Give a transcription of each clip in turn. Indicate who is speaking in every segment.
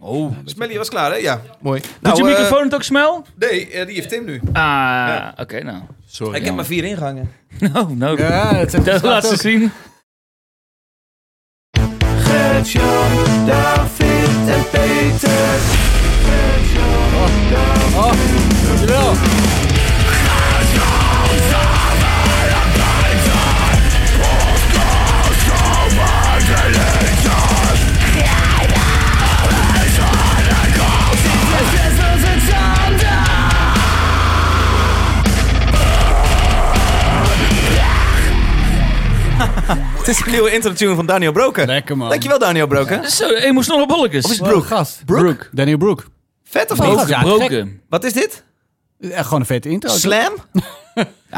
Speaker 1: Oh,
Speaker 2: Smelly was klaar, hè? Ja.
Speaker 1: mooi.
Speaker 3: Doet
Speaker 2: Nou,
Speaker 3: je
Speaker 2: eh,
Speaker 3: microfoon het ook smel?
Speaker 2: Nee, eh, die heeft Tim nu.
Speaker 3: Ah,
Speaker 2: Ja.
Speaker 3: oké, nou.
Speaker 1: Sorry.
Speaker 2: Ah, Ik heb maar vier ingangen.
Speaker 3: Nou, nou.
Speaker 1: Ja, het is
Speaker 3: Dat laat ze zien.
Speaker 4: David en Peter.
Speaker 1: Dankjewel.
Speaker 2: Het is een nieuwe intro-tune van Daniel Broken.
Speaker 1: Lekker man.
Speaker 2: Dankjewel, Daniel Broken.
Speaker 3: Zo, emotionele
Speaker 2: Of is
Speaker 3: bolletjes.
Speaker 2: het Broek?
Speaker 1: Gast.
Speaker 2: Broek.
Speaker 1: Daniel Broek.
Speaker 2: Vet of
Speaker 1: Broek.
Speaker 2: niet?
Speaker 1: Ja,
Speaker 3: Gebroken.
Speaker 2: Wat is dit?
Speaker 1: Echt gewoon een vette intro.
Speaker 2: Slam? Die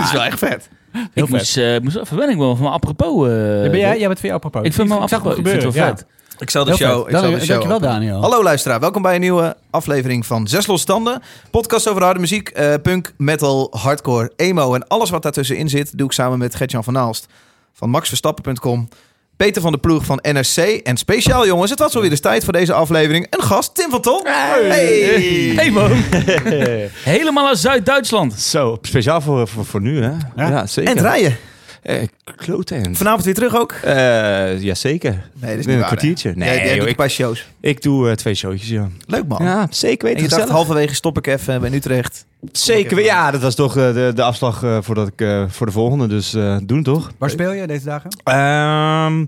Speaker 2: is wel echt vet.
Speaker 1: Heel
Speaker 3: Ik moest, eh moest even wennen, ik ben van mijn apropos. eh,
Speaker 1: Ja, ben jij, jij bent weer apropos.
Speaker 3: Ik vind hem
Speaker 1: zag
Speaker 3: apropos. Ik vind
Speaker 1: gebeuren,
Speaker 3: het wel
Speaker 1: ja.
Speaker 3: vet.
Speaker 2: Ik zal de
Speaker 1: Heel
Speaker 2: show...
Speaker 1: vet.
Speaker 2: Ik zal de
Speaker 1: Dan-
Speaker 2: show
Speaker 1: Dankjewel Daniel.
Speaker 2: Oh. Hallo luisteraar, welkom bij een nieuwe aflevering van Zes Losstanden. Podcast over harde muziek, eh, punk, metal, hardcore, emo en alles wat daartussenin zit... doe ik samen met Gertjan van Aalst van maxverstappen.com... Peter van de Ploeg van NRC. En speciaal jongens, het was alweer eens tijd voor deze aflevering. Een gast, Tim van Tol. Hey.
Speaker 3: Hey man. Helemaal uit Zuid-Duitsland.
Speaker 4: Zo, speciaal voor, voor, voor nu, hè? Ja, zeker.
Speaker 2: En het rijden.
Speaker 4: Eh, klote end.
Speaker 2: Vanavond weer terug ook?
Speaker 4: Eh, Jazeker.
Speaker 2: Nee, dat is
Speaker 4: In
Speaker 2: niet
Speaker 4: een
Speaker 2: waar,
Speaker 4: kwartiertje.
Speaker 2: Nee,
Speaker 4: Nee,
Speaker 2: jij
Speaker 4: joh,
Speaker 2: doet een
Speaker 4: ik,
Speaker 2: paar shows.
Speaker 4: ik doe eh, twee showtjes, ja.
Speaker 2: Leuk man.
Speaker 4: Ja, zeker
Speaker 2: en
Speaker 4: weten.
Speaker 2: je dacht
Speaker 4: gezellig.
Speaker 2: halverwege stop ik even bij Utrecht.
Speaker 4: Zeker weten. Ja, dat was toch eh, de, de afslag eh, voordat ik, eh, voor de volgende. Dus eh, doen toch?
Speaker 1: Waar speel je deze dagen?
Speaker 4: Ehm,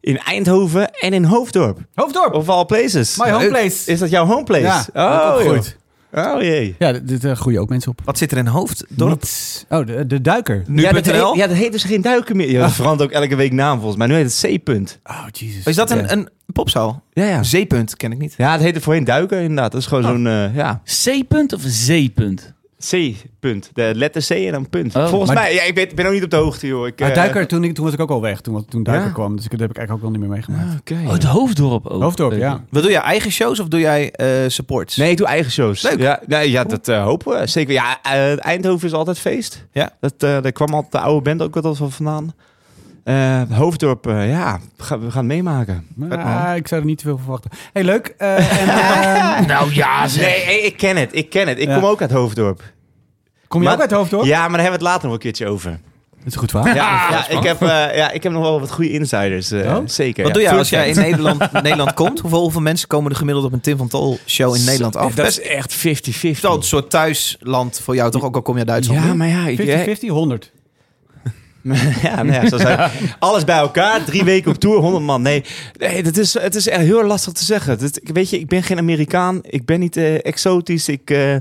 Speaker 4: in Eindhoven en in Hoofddorp.
Speaker 1: Hoofddorp.
Speaker 4: Of all places. Eh,
Speaker 1: My home place.
Speaker 4: Oh, Is dat jouw homeplace?
Speaker 1: Ja,
Speaker 4: oh,
Speaker 1: goed.
Speaker 4: Oh jee.
Speaker 1: Ja, dit eh, groeien ook mensen op.
Speaker 2: Wat zit er in hoofddorp?
Speaker 1: Niets. Oh, de, de duiker.
Speaker 4: Ja dat,
Speaker 2: Nu.nl?
Speaker 4: heet, ja, dat heet dus geen duiken meer. Ja, dat verandert ook elke week naam volgens mij. Nu heet het C-punt.
Speaker 1: Oh, Jesus.
Speaker 2: Is dat een, Dus, een popzaal?
Speaker 4: Ja, ja.
Speaker 2: Zeepunt ken ik niet.
Speaker 4: Ja, het heette voorheen duiken inderdaad. Dat is
Speaker 2: Oh.
Speaker 4: gewoon zo'n, eh, ja,
Speaker 3: C-punt of Z-punt?
Speaker 4: C-punt. De letter C en dan punt.
Speaker 3: Oh.
Speaker 4: Volgens
Speaker 1: Maar-
Speaker 4: mij, ja, ik weet, ben ook niet op de hoogte, joh. Ik,
Speaker 1: Maar
Speaker 4: eh,
Speaker 1: Ah, duiker, toen, ik, toen was ik ook al weg, toen, wat- toen duiker
Speaker 4: Ja.
Speaker 1: kwam. Dus ik- dat heb ik eigenlijk ook nog niet meer meegemaakt.
Speaker 4: Oké.
Speaker 3: Oh, het hoofddorp ook.
Speaker 1: Hoofddorp,
Speaker 3: Leuk.
Speaker 1: ja.
Speaker 2: Wat doe jij? Eigen shows of doe jij eh, supports?
Speaker 4: Nee, ik doe eigen shows.
Speaker 2: Leuk.
Speaker 4: Ja, nee, ja dat eh, hopen we. Zeker. Ja, eh, Eindhoven is altijd feest.
Speaker 2: Ja.
Speaker 4: Dat, eh, daar kwam altijd de oude band ook wat van vandaan. Eh, Hoofddorp, eh, ja, ga- we gaan het meemaken.
Speaker 1: Maar,
Speaker 2: Vet, man.
Speaker 1: ah, ik zou er niet te veel van verwachten. hey, leuk. Eh, en, eh,
Speaker 3: Nou ja, zeg.
Speaker 4: Nee, hey, ik ken het. Ik ken het. Ik
Speaker 1: Ja.
Speaker 4: kom ook uit Hoofddorp.
Speaker 1: kom je
Speaker 4: Maar-
Speaker 1: ook uit Hoofddorp?
Speaker 4: Ja, maar daar hebben we het later nog een keertje over.
Speaker 1: Dat is een goed verhaal.
Speaker 4: Ja, ja, ik heb, eh, ja, ik heb nog wel wat goede insiders. eh,
Speaker 1: Oh?
Speaker 4: Zeker.
Speaker 2: Wat
Speaker 4: ja.
Speaker 2: doe jij
Speaker 4: Fun
Speaker 2: als jij in Nederland, Nederland komt? Hoeveel, hoeveel mensen komen er gemiddeld op een Tim van Tol show in Nederland af?
Speaker 4: Dat
Speaker 2: Best
Speaker 4: is echt
Speaker 2: wel een
Speaker 4: 50-50.
Speaker 2: soort thuisland voor jou toch? Ook al kom je uit Duitsland.
Speaker 4: Ja, maar ja, ik,
Speaker 1: 50-50, 100.
Speaker 4: ja, nou ja, zoals hij- alles bij elkaar, drie weken op tour, 100 man. Nee, nee dat is, het is echt heel lastig te zeggen. Dat, weet je, ik ben geen Amerikaan, ik ben niet eh, exotisch, ik, eh,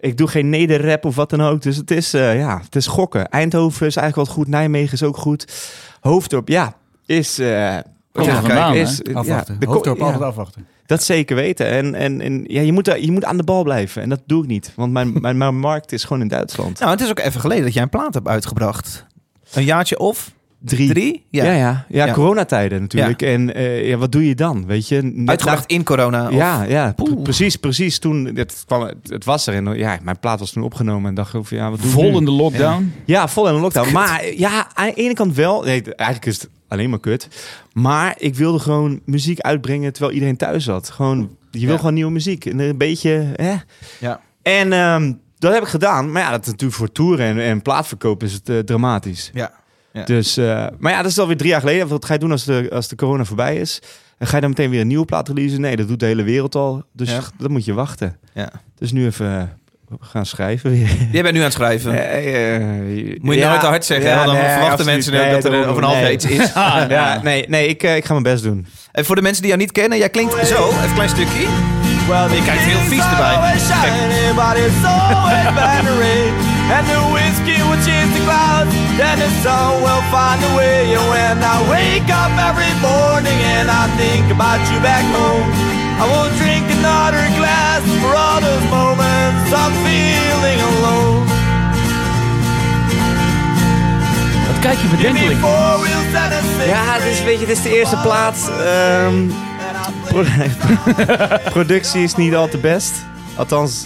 Speaker 4: ik doe geen nederrap of wat dan ook. Dus het is, eh, ja, het is gokken. Eindhoven is eigenlijk wel goed, Nijmegen is ook goed. Hoofddorp, ja, is... eh
Speaker 3: Komt
Speaker 4: ja,
Speaker 3: er vandaan,
Speaker 4: is,
Speaker 1: Afwachten.
Speaker 4: ja, de ko-
Speaker 1: Hoofddorp,
Speaker 4: ja,
Speaker 1: altijd afwachten.
Speaker 4: dat zeker weten. En, en, en ja, je, moet, daar- je moet aan de bal blijven. En dat doe ik niet. Want mijn, mijn, mijn markt is gewoon in Duitsland.
Speaker 2: Nou, het is ook even geleden dat jij een plaat hebt uitgebracht. Een jaartje of
Speaker 4: Drie.
Speaker 2: drie?
Speaker 4: Ja, ja, ja.
Speaker 2: Ja.
Speaker 4: coronatijden natuurlijk. En eh, ja, wat doe je dan? Weet je, Net
Speaker 2: Uitgebracht in corona?
Speaker 4: na-
Speaker 2: of-
Speaker 4: ja, ja, pre-
Speaker 3: Oeh.
Speaker 4: precies, precies. Toen het, kwam, het, het was er en ja, mijn plaat was toen opgenomen en dacht ik van ja, wat doe ik
Speaker 3: Vol
Speaker 4: nu?
Speaker 3: in de lockdown.
Speaker 4: Ja, vol in de lockdown. Maar ja, aan de ene kant wel. Nee, eigenlijk is het alleen maar kut. Maar ik wilde gewoon muziek uitbrengen terwijl iedereen thuis zat. Gewoon, je wil
Speaker 2: Ja.
Speaker 4: gewoon nieuwe muziek en een beetje. Hè?
Speaker 2: Ja.
Speaker 4: En ehm, dat heb ik gedaan. Maar ja, dat is natuurlijk voor toeren en, en plaatverkoop is het eh, dramatisch.
Speaker 2: ja. Ja.
Speaker 4: Dus, eh, maar ja, dat is alweer drie jaar geleden. Wat ga je doen als de, als de corona voorbij is? En ga je dan meteen weer een nieuwe plaat releasen? Nee, dat doet de hele wereld al. Dus
Speaker 2: Ja.
Speaker 4: dat moet je wachten.
Speaker 2: Ja.
Speaker 4: Dus nu even eh, gaan schrijven weer. Eh,
Speaker 2: Jij bent nu aan het schrijven. Moet je nooit te hard zeggen, hè? want dan verwachten mensen ook dat er over een half jaar iets is.
Speaker 4: Ja, nee, nee ik, eh, ik ga mijn best doen.
Speaker 2: En voor de mensen die jou niet kennen, jij klinkt zo, even een klein stukje.
Speaker 4: Well,
Speaker 2: Je kijkt heel vies erbij. Oh,
Speaker 4: And the whiskey will chase the clouds Then the sun will find a way And when I wake up every morning And I think about you back home I won't drink another glass For all those moments I'm feeling alone
Speaker 3: Wat kijk je bedenkelijk.
Speaker 4: Ja, dit is, weet je, dit is de eerste plaats. Ehm, pro- productie is niet al te best. Althans,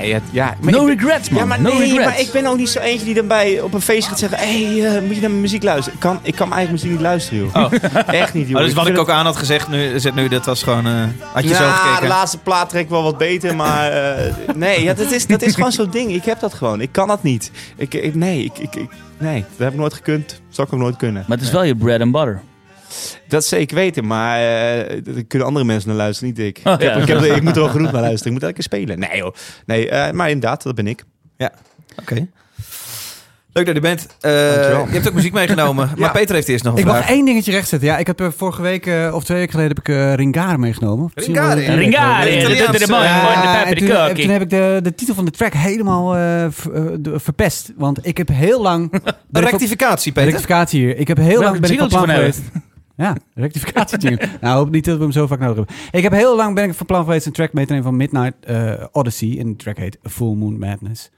Speaker 4: nee, ja, ja, maar
Speaker 3: no
Speaker 4: ik-
Speaker 3: regrets, man.
Speaker 4: Ja, maar
Speaker 3: no
Speaker 4: nee,
Speaker 3: regrets.
Speaker 4: maar ik ben ook niet zo eentje die dan bij op een feest gaat zeggen... hey, eh, moet je naar mijn muziek luisteren? Ik kan, ik kan mijn eigen muziek niet luisteren, joh. Echt niet, joh.
Speaker 2: Oh, dus wat ik
Speaker 4: vind
Speaker 2: ook aan had gezegd, nu, zit nu dat was gewoon... eh, had je
Speaker 4: het-
Speaker 2: zo
Speaker 4: Nou, de
Speaker 2: gekeken?
Speaker 4: laatste plaat trek ik wel wat beter, maar eh, nee, ja, dat, is, dat is gewoon zo'n ding. Ik heb dat gewoon. Ik kan dat niet. Ik, ik- nee, ik, ik, ik- nee, dat heb ik nooit gekund. Zal ik ook nooit kunnen.
Speaker 3: Maar het is wel je bread and butter.
Speaker 4: Dat zeker weten, maar eh, daar kunnen andere mensen naar luisteren, niet ik.
Speaker 3: Oh,
Speaker 4: ik, heb,
Speaker 3: ja.
Speaker 4: ik, heb- ik moet er wel genoeg naar luisteren. Ik moet elke keer spelen. Nee, joh. Nee, eh, maar inderdaad, dat ben ik.
Speaker 2: Oké. Leuk dat je er bent. Eh,
Speaker 4: Dankjewel.
Speaker 2: je hebt ook muziek meegenomen, maar Peter heeft eerst nog een
Speaker 1: Ik mag
Speaker 2: vraag.
Speaker 1: één dingetje rechtzetten. Ja, ik heb eh, vorige week eh, of twee weken geleden heb ik eh Ringare meegenoman. Of misschien wel-
Speaker 2: Ringare?
Speaker 1: Ja,
Speaker 3: Ringare,
Speaker 2: Italiaans,
Speaker 3: de
Speaker 2: eh,
Speaker 3: de- de man,
Speaker 1: Ja,
Speaker 3: man, de pijp
Speaker 1: en
Speaker 3: in de
Speaker 1: toen, en toen
Speaker 3: keuken.
Speaker 1: heb ik de, de titel van de track helemaal eh, ver- eh, de- verpest. Want ik heb heel lang...
Speaker 2: Een
Speaker 1: ben ik van-
Speaker 2: rectificatie, Peter.
Speaker 1: rectificatie hier. Ik heb heel
Speaker 3: Welke
Speaker 1: lang ben ik van
Speaker 3: jingletje
Speaker 1: plan
Speaker 3: van hebben?
Speaker 1: geweest... Ja, rectificatie jingle. Nou, hoop niet dat we hem zo vaak nodig hebben. Ik heb heel lang ben ik van plan geweest een track mee te nemen van Midnight eh, Odyssey. En die track heet Full Moon Madness.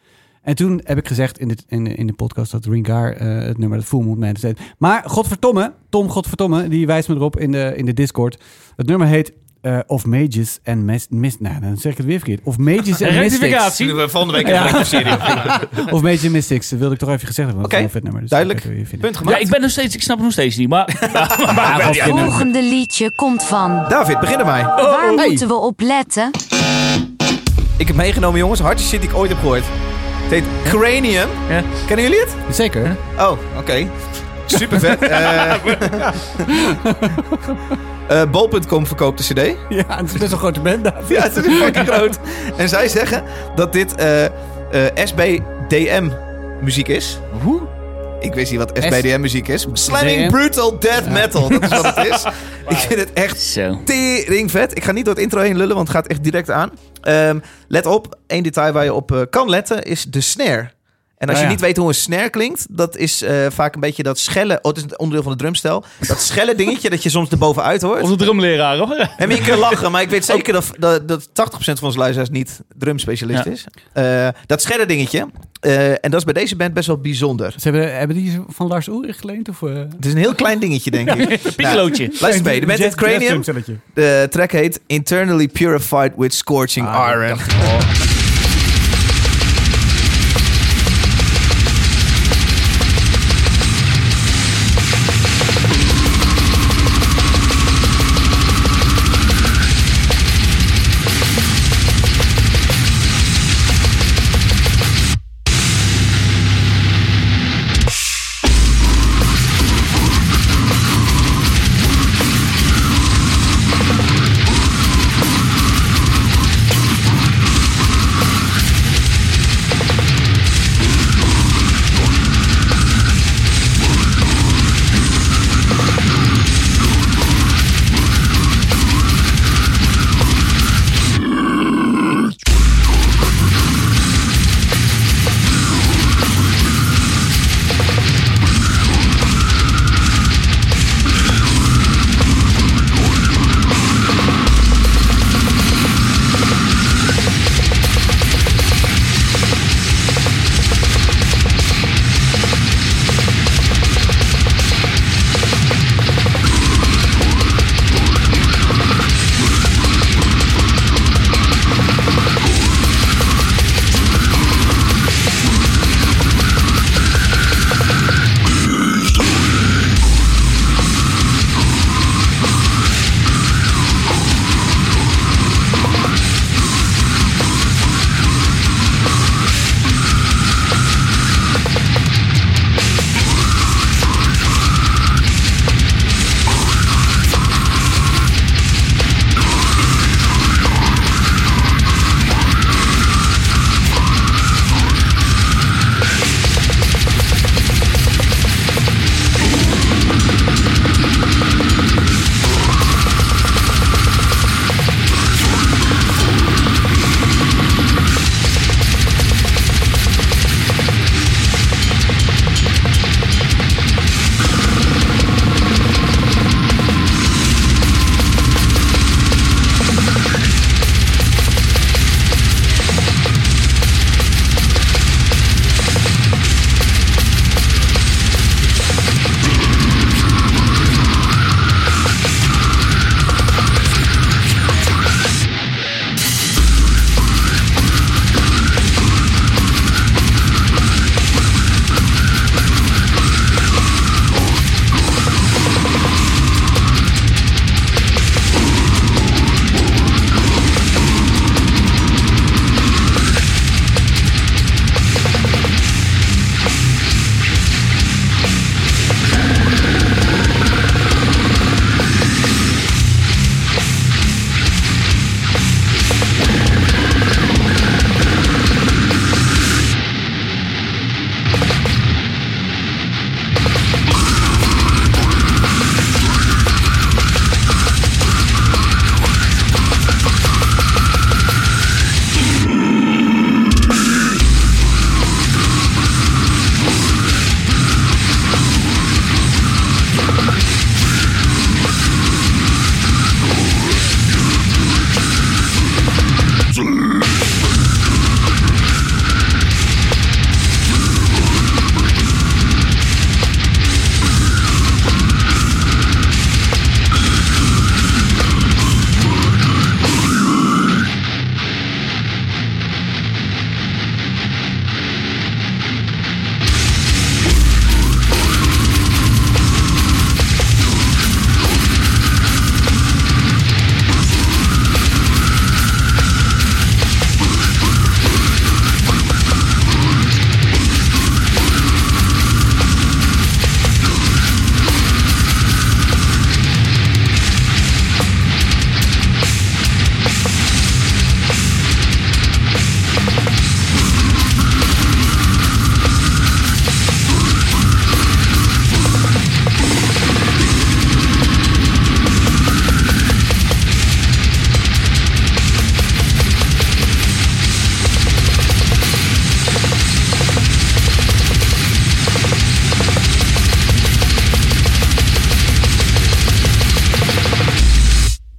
Speaker 1: En toen heb ik gezegd in de, in de, in de podcast dat Ringar eh, het nummer dat Full Moon Madness heet. Maar godverdomme, Tom godverdomme, die wijst me erop in de, in de Discord. Het nummer heet eh, Of Mages and Mis... mis nou, dan zeg ik het weer verkeerd. Of Mages and Mystics.
Speaker 3: Rectificatie.
Speaker 2: we volgende week
Speaker 1: Ja.
Speaker 2: serie.
Speaker 1: Of Mages and Mystics, dat wilde ik toch even gezegd hebben. want
Speaker 2: Oké,
Speaker 1: het is wel een vet nummer, dus
Speaker 2: duidelijk.
Speaker 1: dat wil je vinden.
Speaker 2: Punt
Speaker 3: Ja,
Speaker 2: gemaakt.
Speaker 3: ik ben nog steeds, ik snap het nog steeds niet, maar...
Speaker 1: Ah,
Speaker 3: Ja,
Speaker 1: godverdomme.
Speaker 5: Volgende liedje komt van.
Speaker 2: David, begin
Speaker 1: Oh.
Speaker 2: mij.
Speaker 5: Waar
Speaker 1: hey.
Speaker 5: moeten we op letten?
Speaker 2: Ik heb meegenomen, jongens. Hardste shit die ik ooit heb gehoord. Het heet Cranium.
Speaker 3: Ja.
Speaker 2: Kennen jullie het?
Speaker 1: Zeker.
Speaker 2: Oh, oké. Super vet. Eh, Bol.com verkoopt de cd.
Speaker 1: Ja, het is best een grote band. David.
Speaker 2: Ja, het is fucking groot. En zij zeggen dat dit eh, eh, SBDM muziek is.
Speaker 1: Hoe?
Speaker 2: Ik wist niet wat SBDM muziek is. Slamming
Speaker 1: DM?
Speaker 2: Brutal Death Metal. Dat is wat het is. Ik vind het echt
Speaker 3: Zo.
Speaker 2: tering vet. Ik ga niet door het intro heen lullen, want het gaat echt direct aan. Ehm, let op, één detail waar je op eh, kan letten is de snare. En als
Speaker 1: Oh
Speaker 2: je
Speaker 1: ja.
Speaker 2: niet weet hoe een snare klinkt, dat is eh, vaak een beetje dat schellen. Oh, het is het onderdeel van de drumstel. Dat schellen dingetje dat je soms erbovenuit hoort.
Speaker 3: Onze drumleraar, hoor.
Speaker 2: En je kunt lachen, maar ik weet zeker dat, dat, dat 80% van onze luisteraars niet drumspecialist
Speaker 3: Ja.
Speaker 2: is. Eh, dat schellen dingetje. eh, en dat is bij deze band best wel bijzonder.
Speaker 1: Ze hebben, hebben die van Lars Ulrich geleend? Of, eh
Speaker 2: Het is een heel klein dingetje, denk ik.
Speaker 3: Piccolootje.
Speaker 2: Luister mee, de band heet Cranium. De track heet Internally Purified with Scorching
Speaker 1: Ah,
Speaker 2: Iron.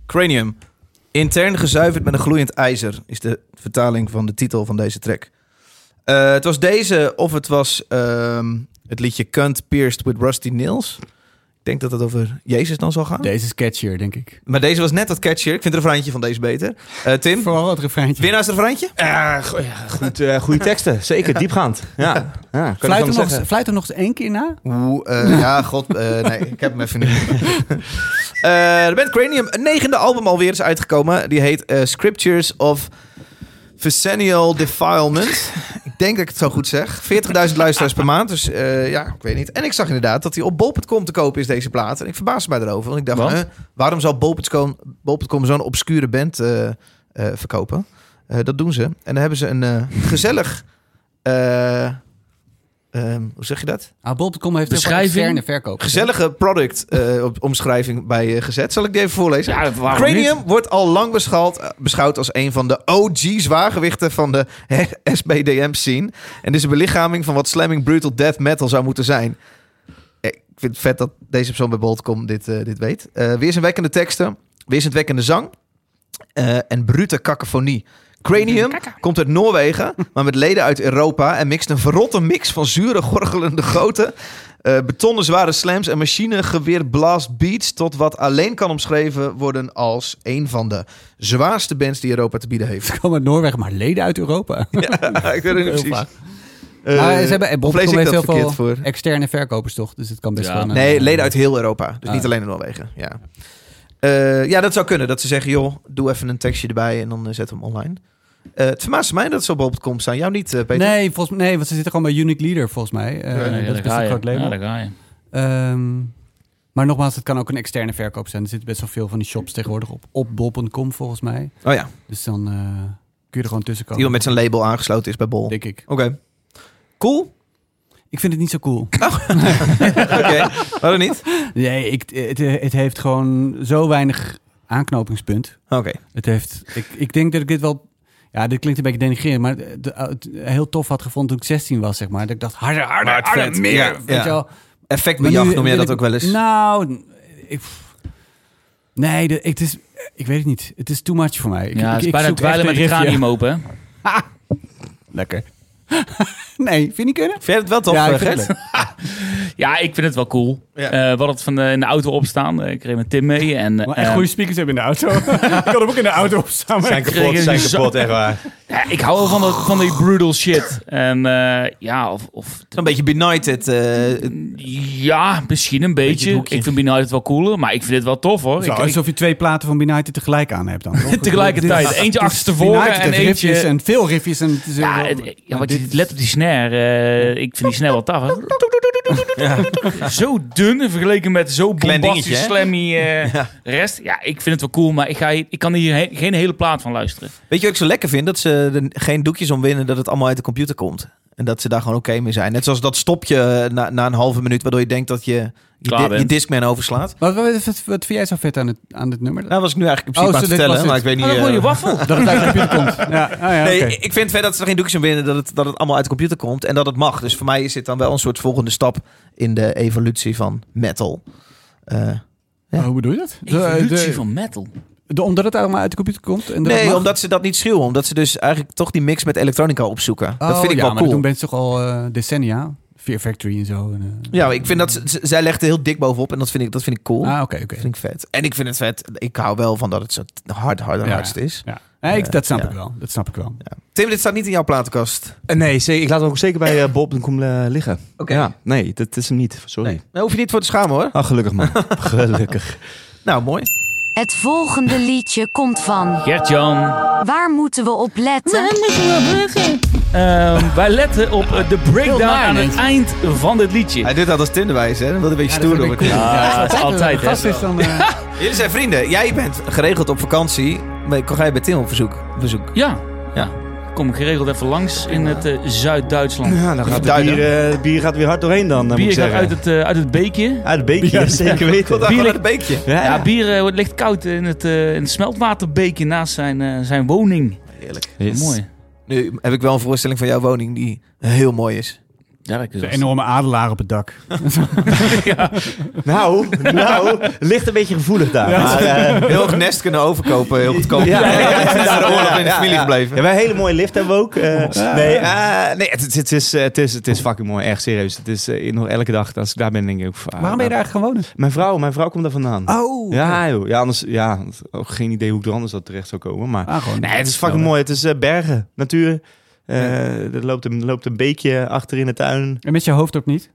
Speaker 2: Cranium. Intern gezuiverd met een gloeiend ijzer is de vertaling van de titel van deze track. Eh, het was deze of het was ehm, het liedje Cunt Pierced with Rusty Nails. Ik denk dat het over Jezus dan zal gaan.
Speaker 1: Deze is catchier, denk ik.
Speaker 2: Maar deze was net dat catchier. Ik vind het refreintje van deze beter. Eh, Tim,
Speaker 1: Vooral het refreintje.
Speaker 2: winnaarsrefreintje?
Speaker 4: Eh, go- ja, goed, eh, goede teksten, zeker diepgaand. Ja, ja. kan ik
Speaker 1: Fluit
Speaker 4: anders
Speaker 1: hem, nog
Speaker 4: zeggen.
Speaker 1: eens, fluit hem nog eens één keer na.
Speaker 2: Oeh, eh, ja, god. eh, nee, ik heb hem even niet. Eh, de band Cranium, een negende album alweer is uitgekomen. Die heet eh, Scriptures of Vicennial Defilement. Ik denk dat ik het zo goed zeg. 40.000 luisteraars per maand, dus eh, ja, ik weet niet. En ik zag inderdaad dat hij op bol.com te kopen is, deze plaat. En ik verbaasde mij daarover, want ik dacht...
Speaker 3: Want?
Speaker 2: eh, waarom zou bol.com bol.com zo'n obscure band eh, eh, verkopen? Eh, dat doen ze. En dan hebben ze een eh, gezellig... eh, ehm, hoe zeg je dat?
Speaker 1: Ah, Bol.com heeft heel veel
Speaker 3: Beschrijving.
Speaker 1: externe verkoop.
Speaker 2: gezellige product eh, op- omschrijving bij eh, gezet. Zal ik die even voorlezen?
Speaker 3: Ja, ah, waarom
Speaker 2: Cranium
Speaker 3: niet?
Speaker 2: wordt al lang beschouwd, eh, beschouwd als een van de OG-zwaargewichten van de SBDM-scene. En dit is een belichaming van wat slamming brutal death metal zou moeten zijn. Eh, Ik vind het vet dat deze persoon bij Boltcom dit, eh, dit weet. Eh weerzinwekkende teksten, weerzinwekkende zang eh, en brute cacophonie. Cranium komt uit Noorwegen, maar met leden uit Europa... en mixt een verrotte mix van zure, gorgelende goten... eh, betonnen zware slams en machinegeweer blast beats... tot wat alleen kan omschreven worden als een van de zwaarste bands die Europa te bieden heeft.
Speaker 1: Ze komen uit Noorwegen, maar leden uit
Speaker 2: Eh,
Speaker 1: Europa.
Speaker 2: ja, ik weet het niet precies.
Speaker 1: Europa. maar
Speaker 2: Eh,
Speaker 1: Ah, ze hebben, en
Speaker 2: of lees
Speaker 1: Bol.com
Speaker 2: ik
Speaker 1: heeft heel
Speaker 2: dat
Speaker 1: veel Eh,
Speaker 2: verkeerd voor?
Speaker 1: externe verkopers, toch? Dus het kan best
Speaker 3: Ja.
Speaker 1: wel... een-
Speaker 2: Nee, leden uit heel Europa. Dus
Speaker 1: Ah.
Speaker 2: niet alleen in Noorwegen. Ja. Eh, ja, dat zou kunnen. Dat ze zeggen, joh, doe even een tekstje erbij en dan zet zetten we hem online. Eh het verbaast mij dat ze op bol.com staan. Jou niet, eh, Peter?
Speaker 1: Nee, volgens, nee, want ze zitten gewoon bij Unique Leader, volgens mij. Eh,
Speaker 2: Ja, nee,
Speaker 1: dat is
Speaker 3: daar
Speaker 1: best
Speaker 3: ga
Speaker 1: een
Speaker 3: je.
Speaker 1: groot label.
Speaker 3: Ja, daar ga je.
Speaker 1: Ehm, maar nogmaals, het kan ook een externe verkoop zijn. Er zitten best wel veel van die shops tegenwoordig op, op bol.com, volgens mij.
Speaker 2: Oh ja,
Speaker 1: Dus dan eh, kun je er gewoon tussen komen.
Speaker 2: iemand met zijn label aangesloten is bij Bol. Oké.
Speaker 1: Denk ik.
Speaker 2: Cool.
Speaker 1: Ik vind het niet zo cool.
Speaker 2: Oké, waarom niet?
Speaker 1: Nee, ik, het, eh, het heeft gewoon zo weinig aanknopingspunt.
Speaker 2: Oké.
Speaker 1: Het heeft, ik, ik denk dat ik dit wel... Ja, dit klinkt een beetje denigrerend, maar eh, de- het heel tof had gevonden toen ik 16 was, zeg maar. Dat ik dacht, harder, harder,
Speaker 2: Maar het
Speaker 1: harder,
Speaker 2: vet.
Speaker 1: meer.
Speaker 2: Ja,
Speaker 1: weet
Speaker 2: ja.
Speaker 1: je wel.
Speaker 2: Effect
Speaker 1: Maar nu
Speaker 2: bejag noem jij dat
Speaker 1: wil ik-
Speaker 2: ook wel eens?
Speaker 1: Nou, ik, nee, de- het is, ik weet het niet. Het is too much voor mij. Ik,
Speaker 3: Ja,
Speaker 1: ik,
Speaker 3: het is
Speaker 1: ik
Speaker 3: bijna
Speaker 1: zoek
Speaker 3: dweilen
Speaker 1: echt
Speaker 3: met
Speaker 1: een
Speaker 3: de
Speaker 1: riffje.
Speaker 3: cranium open. hè?
Speaker 1: Lekker. nee, vind je niet kunnen?
Speaker 2: Vind jij het wel tof,
Speaker 1: Ja, ik
Speaker 2: eh,
Speaker 1: vind
Speaker 2: Gert?
Speaker 1: het
Speaker 3: Ja, ik vind het wel cool.
Speaker 2: Ja.
Speaker 3: Eh we hadden het van de, in de auto opstaan. Eh, Ik reed met Tim mee. En,
Speaker 1: Maar
Speaker 3: eh,
Speaker 1: echt goede speakers hebben in de auto. ik had hem ook in de auto op staan. maar-
Speaker 4: Zijn kapot, zijn kapot, echt waar.
Speaker 3: ja, ik hou wel van, dat, van die brutal shit. En eh, ja, of, of
Speaker 2: Een beetje benighted. eh
Speaker 3: Ja, misschien een beetje.
Speaker 4: hoekje.
Speaker 3: ik vind Benide het wel cooler, maar ik vind dit wel tof hoor.
Speaker 1: Zo,
Speaker 3: Ik, ik-
Speaker 1: alsof je twee platen van Benighted tegelijk aan hebt dan.
Speaker 3: tegelijkertijd. Eentje achterstevoren en
Speaker 1: riffjes
Speaker 3: eentje...
Speaker 1: en veel riffjes. En het is
Speaker 3: Ja,
Speaker 1: wel-
Speaker 3: het- ja, want
Speaker 1: dit
Speaker 3: je let op die snare. eh, ik vind die snare wel taf. Zo dun in vergeleken met zo
Speaker 2: Klein
Speaker 3: bombastisch
Speaker 2: dingetje, hè?
Speaker 3: slammy eh, rest. Ja, ik vind het wel cool, maar ik, ga, hier- ik kan hier he- geen hele plaat van luisteren.
Speaker 2: weet je wat ik zo lekker vind? Dat ze er geen doekjes om winnen dat het allemaal uit de computer komt. En dat ze daar gewoon oké mee zijn. Net zoals dat stopje eh, na, na een halve minuut... waardoor je denkt dat je je,
Speaker 3: Klaar
Speaker 2: di-
Speaker 3: bent.
Speaker 2: je Discman overslaat.
Speaker 1: Maar wat, wat, wat vind jij zo vet aan, het, aan dit nummer?
Speaker 2: Nou was ik nu eigenlijk in
Speaker 1: Oh,
Speaker 2: principe
Speaker 1: zo,
Speaker 2: aan
Speaker 1: dit
Speaker 2: het vertellen.
Speaker 1: was
Speaker 2: Maar ik
Speaker 1: het. Oh,
Speaker 2: weet niet...
Speaker 3: Maar Ah, dan
Speaker 2: eh,
Speaker 3: word je waffel.
Speaker 1: Dat het uit de computer komt. Ja, ah, ja,
Speaker 2: Nee,
Speaker 1: oké.
Speaker 2: ik vind het vet dat ze er geen doekjes om winnen dat het, dat het allemaal uit de computer komt en dat het mag. Dus voor mij is dit dan wel een soort volgende stap in de evolutie van metal. Eh, Ja.
Speaker 1: Hoe bedoel je dat? De,
Speaker 3: Evolutie
Speaker 1: de,
Speaker 3: van metal.
Speaker 1: de- omdat het allemaal uit de computer komt? En dat
Speaker 2: nee,
Speaker 1: mag?
Speaker 2: omdat ze dat niet schreeuwen. Omdat ze dus eigenlijk toch die mix met elektronica opzoeken.
Speaker 1: Oh,
Speaker 2: dat vind ik
Speaker 1: ja,
Speaker 2: wel
Speaker 1: maar dat
Speaker 2: cool.
Speaker 1: doen mensen toch al eh, decennia. Fear Factory en zo. En, eh.
Speaker 2: Ja, Nou, ik vind dat ze- ze- zij legt er heel dik bovenop en dat vind ik, dat vind ik cool.
Speaker 1: Ah, oké, oké.
Speaker 2: Dat vind ik vet. En ik vind het vet. Ik hou wel van dat het zo hard, hard,
Speaker 1: Ja,
Speaker 2: hardst is.
Speaker 1: Ja. Nee, ik, dat snap
Speaker 2: Ja.
Speaker 1: ik wel. Dat snap ik wel.
Speaker 2: Ja. Tim, dit staat niet in jouw platenkast.
Speaker 4: Eh, Nee, zeker, ik laat hem ook zeker bij eh, Bob.com eh, liggen.
Speaker 2: Oké.
Speaker 4: Ja, nee, dat is hem niet. Sorry.
Speaker 2: Daar Nou, hoef je niet voor te schamen hoor.
Speaker 4: Ah, gelukkig man. gelukkig.
Speaker 2: Nou, mooi.
Speaker 5: Het volgende liedje komt van.
Speaker 3: Gert-Jan.
Speaker 5: Waar moeten we op letten?
Speaker 3: Ehm, wij letten op eh, de breakdown
Speaker 1: naar,
Speaker 3: aan het
Speaker 1: mensen.
Speaker 3: eind van dit liedje.
Speaker 2: Hij doet dat als tinderwijs, hè? Dat wil een beetje stoer
Speaker 1: dat
Speaker 2: doen.
Speaker 1: vind ik cool.
Speaker 3: Ja,
Speaker 1: Ja,
Speaker 3: dat is altijd, hè.
Speaker 1: Gast is dan... eh,
Speaker 2: Jullie zijn vrienden. Jij bent geregeld op vakantie. Maar Kom jij bij Tim op verzoek? bezoek.
Speaker 3: Ja. ja. Kom ik geregeld even langs in het eh, Zuid-Duitsland.
Speaker 4: Ja, dan gaat het
Speaker 2: Duiden.
Speaker 4: bier, eh, het bier gaat weer hard doorheen dan, eh, moet
Speaker 3: Bier
Speaker 4: ik
Speaker 3: gaat
Speaker 4: zeggen.
Speaker 3: uit het, eh, uit het beekje.
Speaker 4: Uit het beekje, ja, zeker
Speaker 2: Daar
Speaker 4: weten.
Speaker 3: Bier
Speaker 2: gewoon
Speaker 3: ligt-
Speaker 2: een beekje.
Speaker 4: Ja,
Speaker 3: Ja,
Speaker 4: ja.
Speaker 3: bier eh, wordt- ligt koud in het, eh, in het smeltwaterbeekje naast zijn, eh, zijn woning.
Speaker 2: Heerlijk.
Speaker 4: Yes.
Speaker 3: Mooi.
Speaker 2: Nu heb ik wel een voorstelling van jouw woning die heel mooi is.
Speaker 3: Ja, dat is
Speaker 1: De enorme adelaar op het dak.
Speaker 4: Nou, nou, ligt een beetje gevoelig daar. Maar, eh,
Speaker 2: Heel het nest kunnen overkopen, heel goedkoop.
Speaker 4: Ja, ja, ja, ja.
Speaker 2: Daar de oorlog in de
Speaker 4: Ja,
Speaker 2: familie
Speaker 4: ja.
Speaker 2: gebleven.
Speaker 4: Ja, wij een hele mooie lift hebben we ook. eh. nee, eh, nee het, het, het is, eh, het, is, het is fucking mooi. Echt serieus. Het is eh, nog elke dag, als ik daar ben, denk ik ook van... ah,
Speaker 1: Waarom ben je daar eigenlijk gaan wonen?
Speaker 4: Mijn vrouw, mijn vrouw komt daar vandaan.
Speaker 1: Oh.
Speaker 4: Ja, joh. ja, anders, ja, want ook geen idee hoe ik er anders dat terecht zou komen. Maar
Speaker 1: Ah, gewoon.
Speaker 4: nee, het is fucking mooi. Het is eh, bergen, natuur. Eh, Er loopt een, loopt een beekje achter in de tuin.
Speaker 1: En met je hoofd ook niet?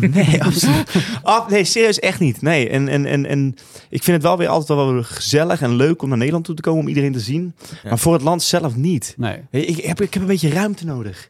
Speaker 4: Nee, absoluut. Af, nee, serieus echt niet. Nee, en, en, en, en ik vind het wel weer altijd wel weer gezellig en leuk om naar Nederland toe te komen, om iedereen te zien.
Speaker 2: Ja.
Speaker 4: Maar voor het land zelf niet.
Speaker 1: Nee.
Speaker 4: Hey, Ik heb, ik heb een beetje ruimte nodig.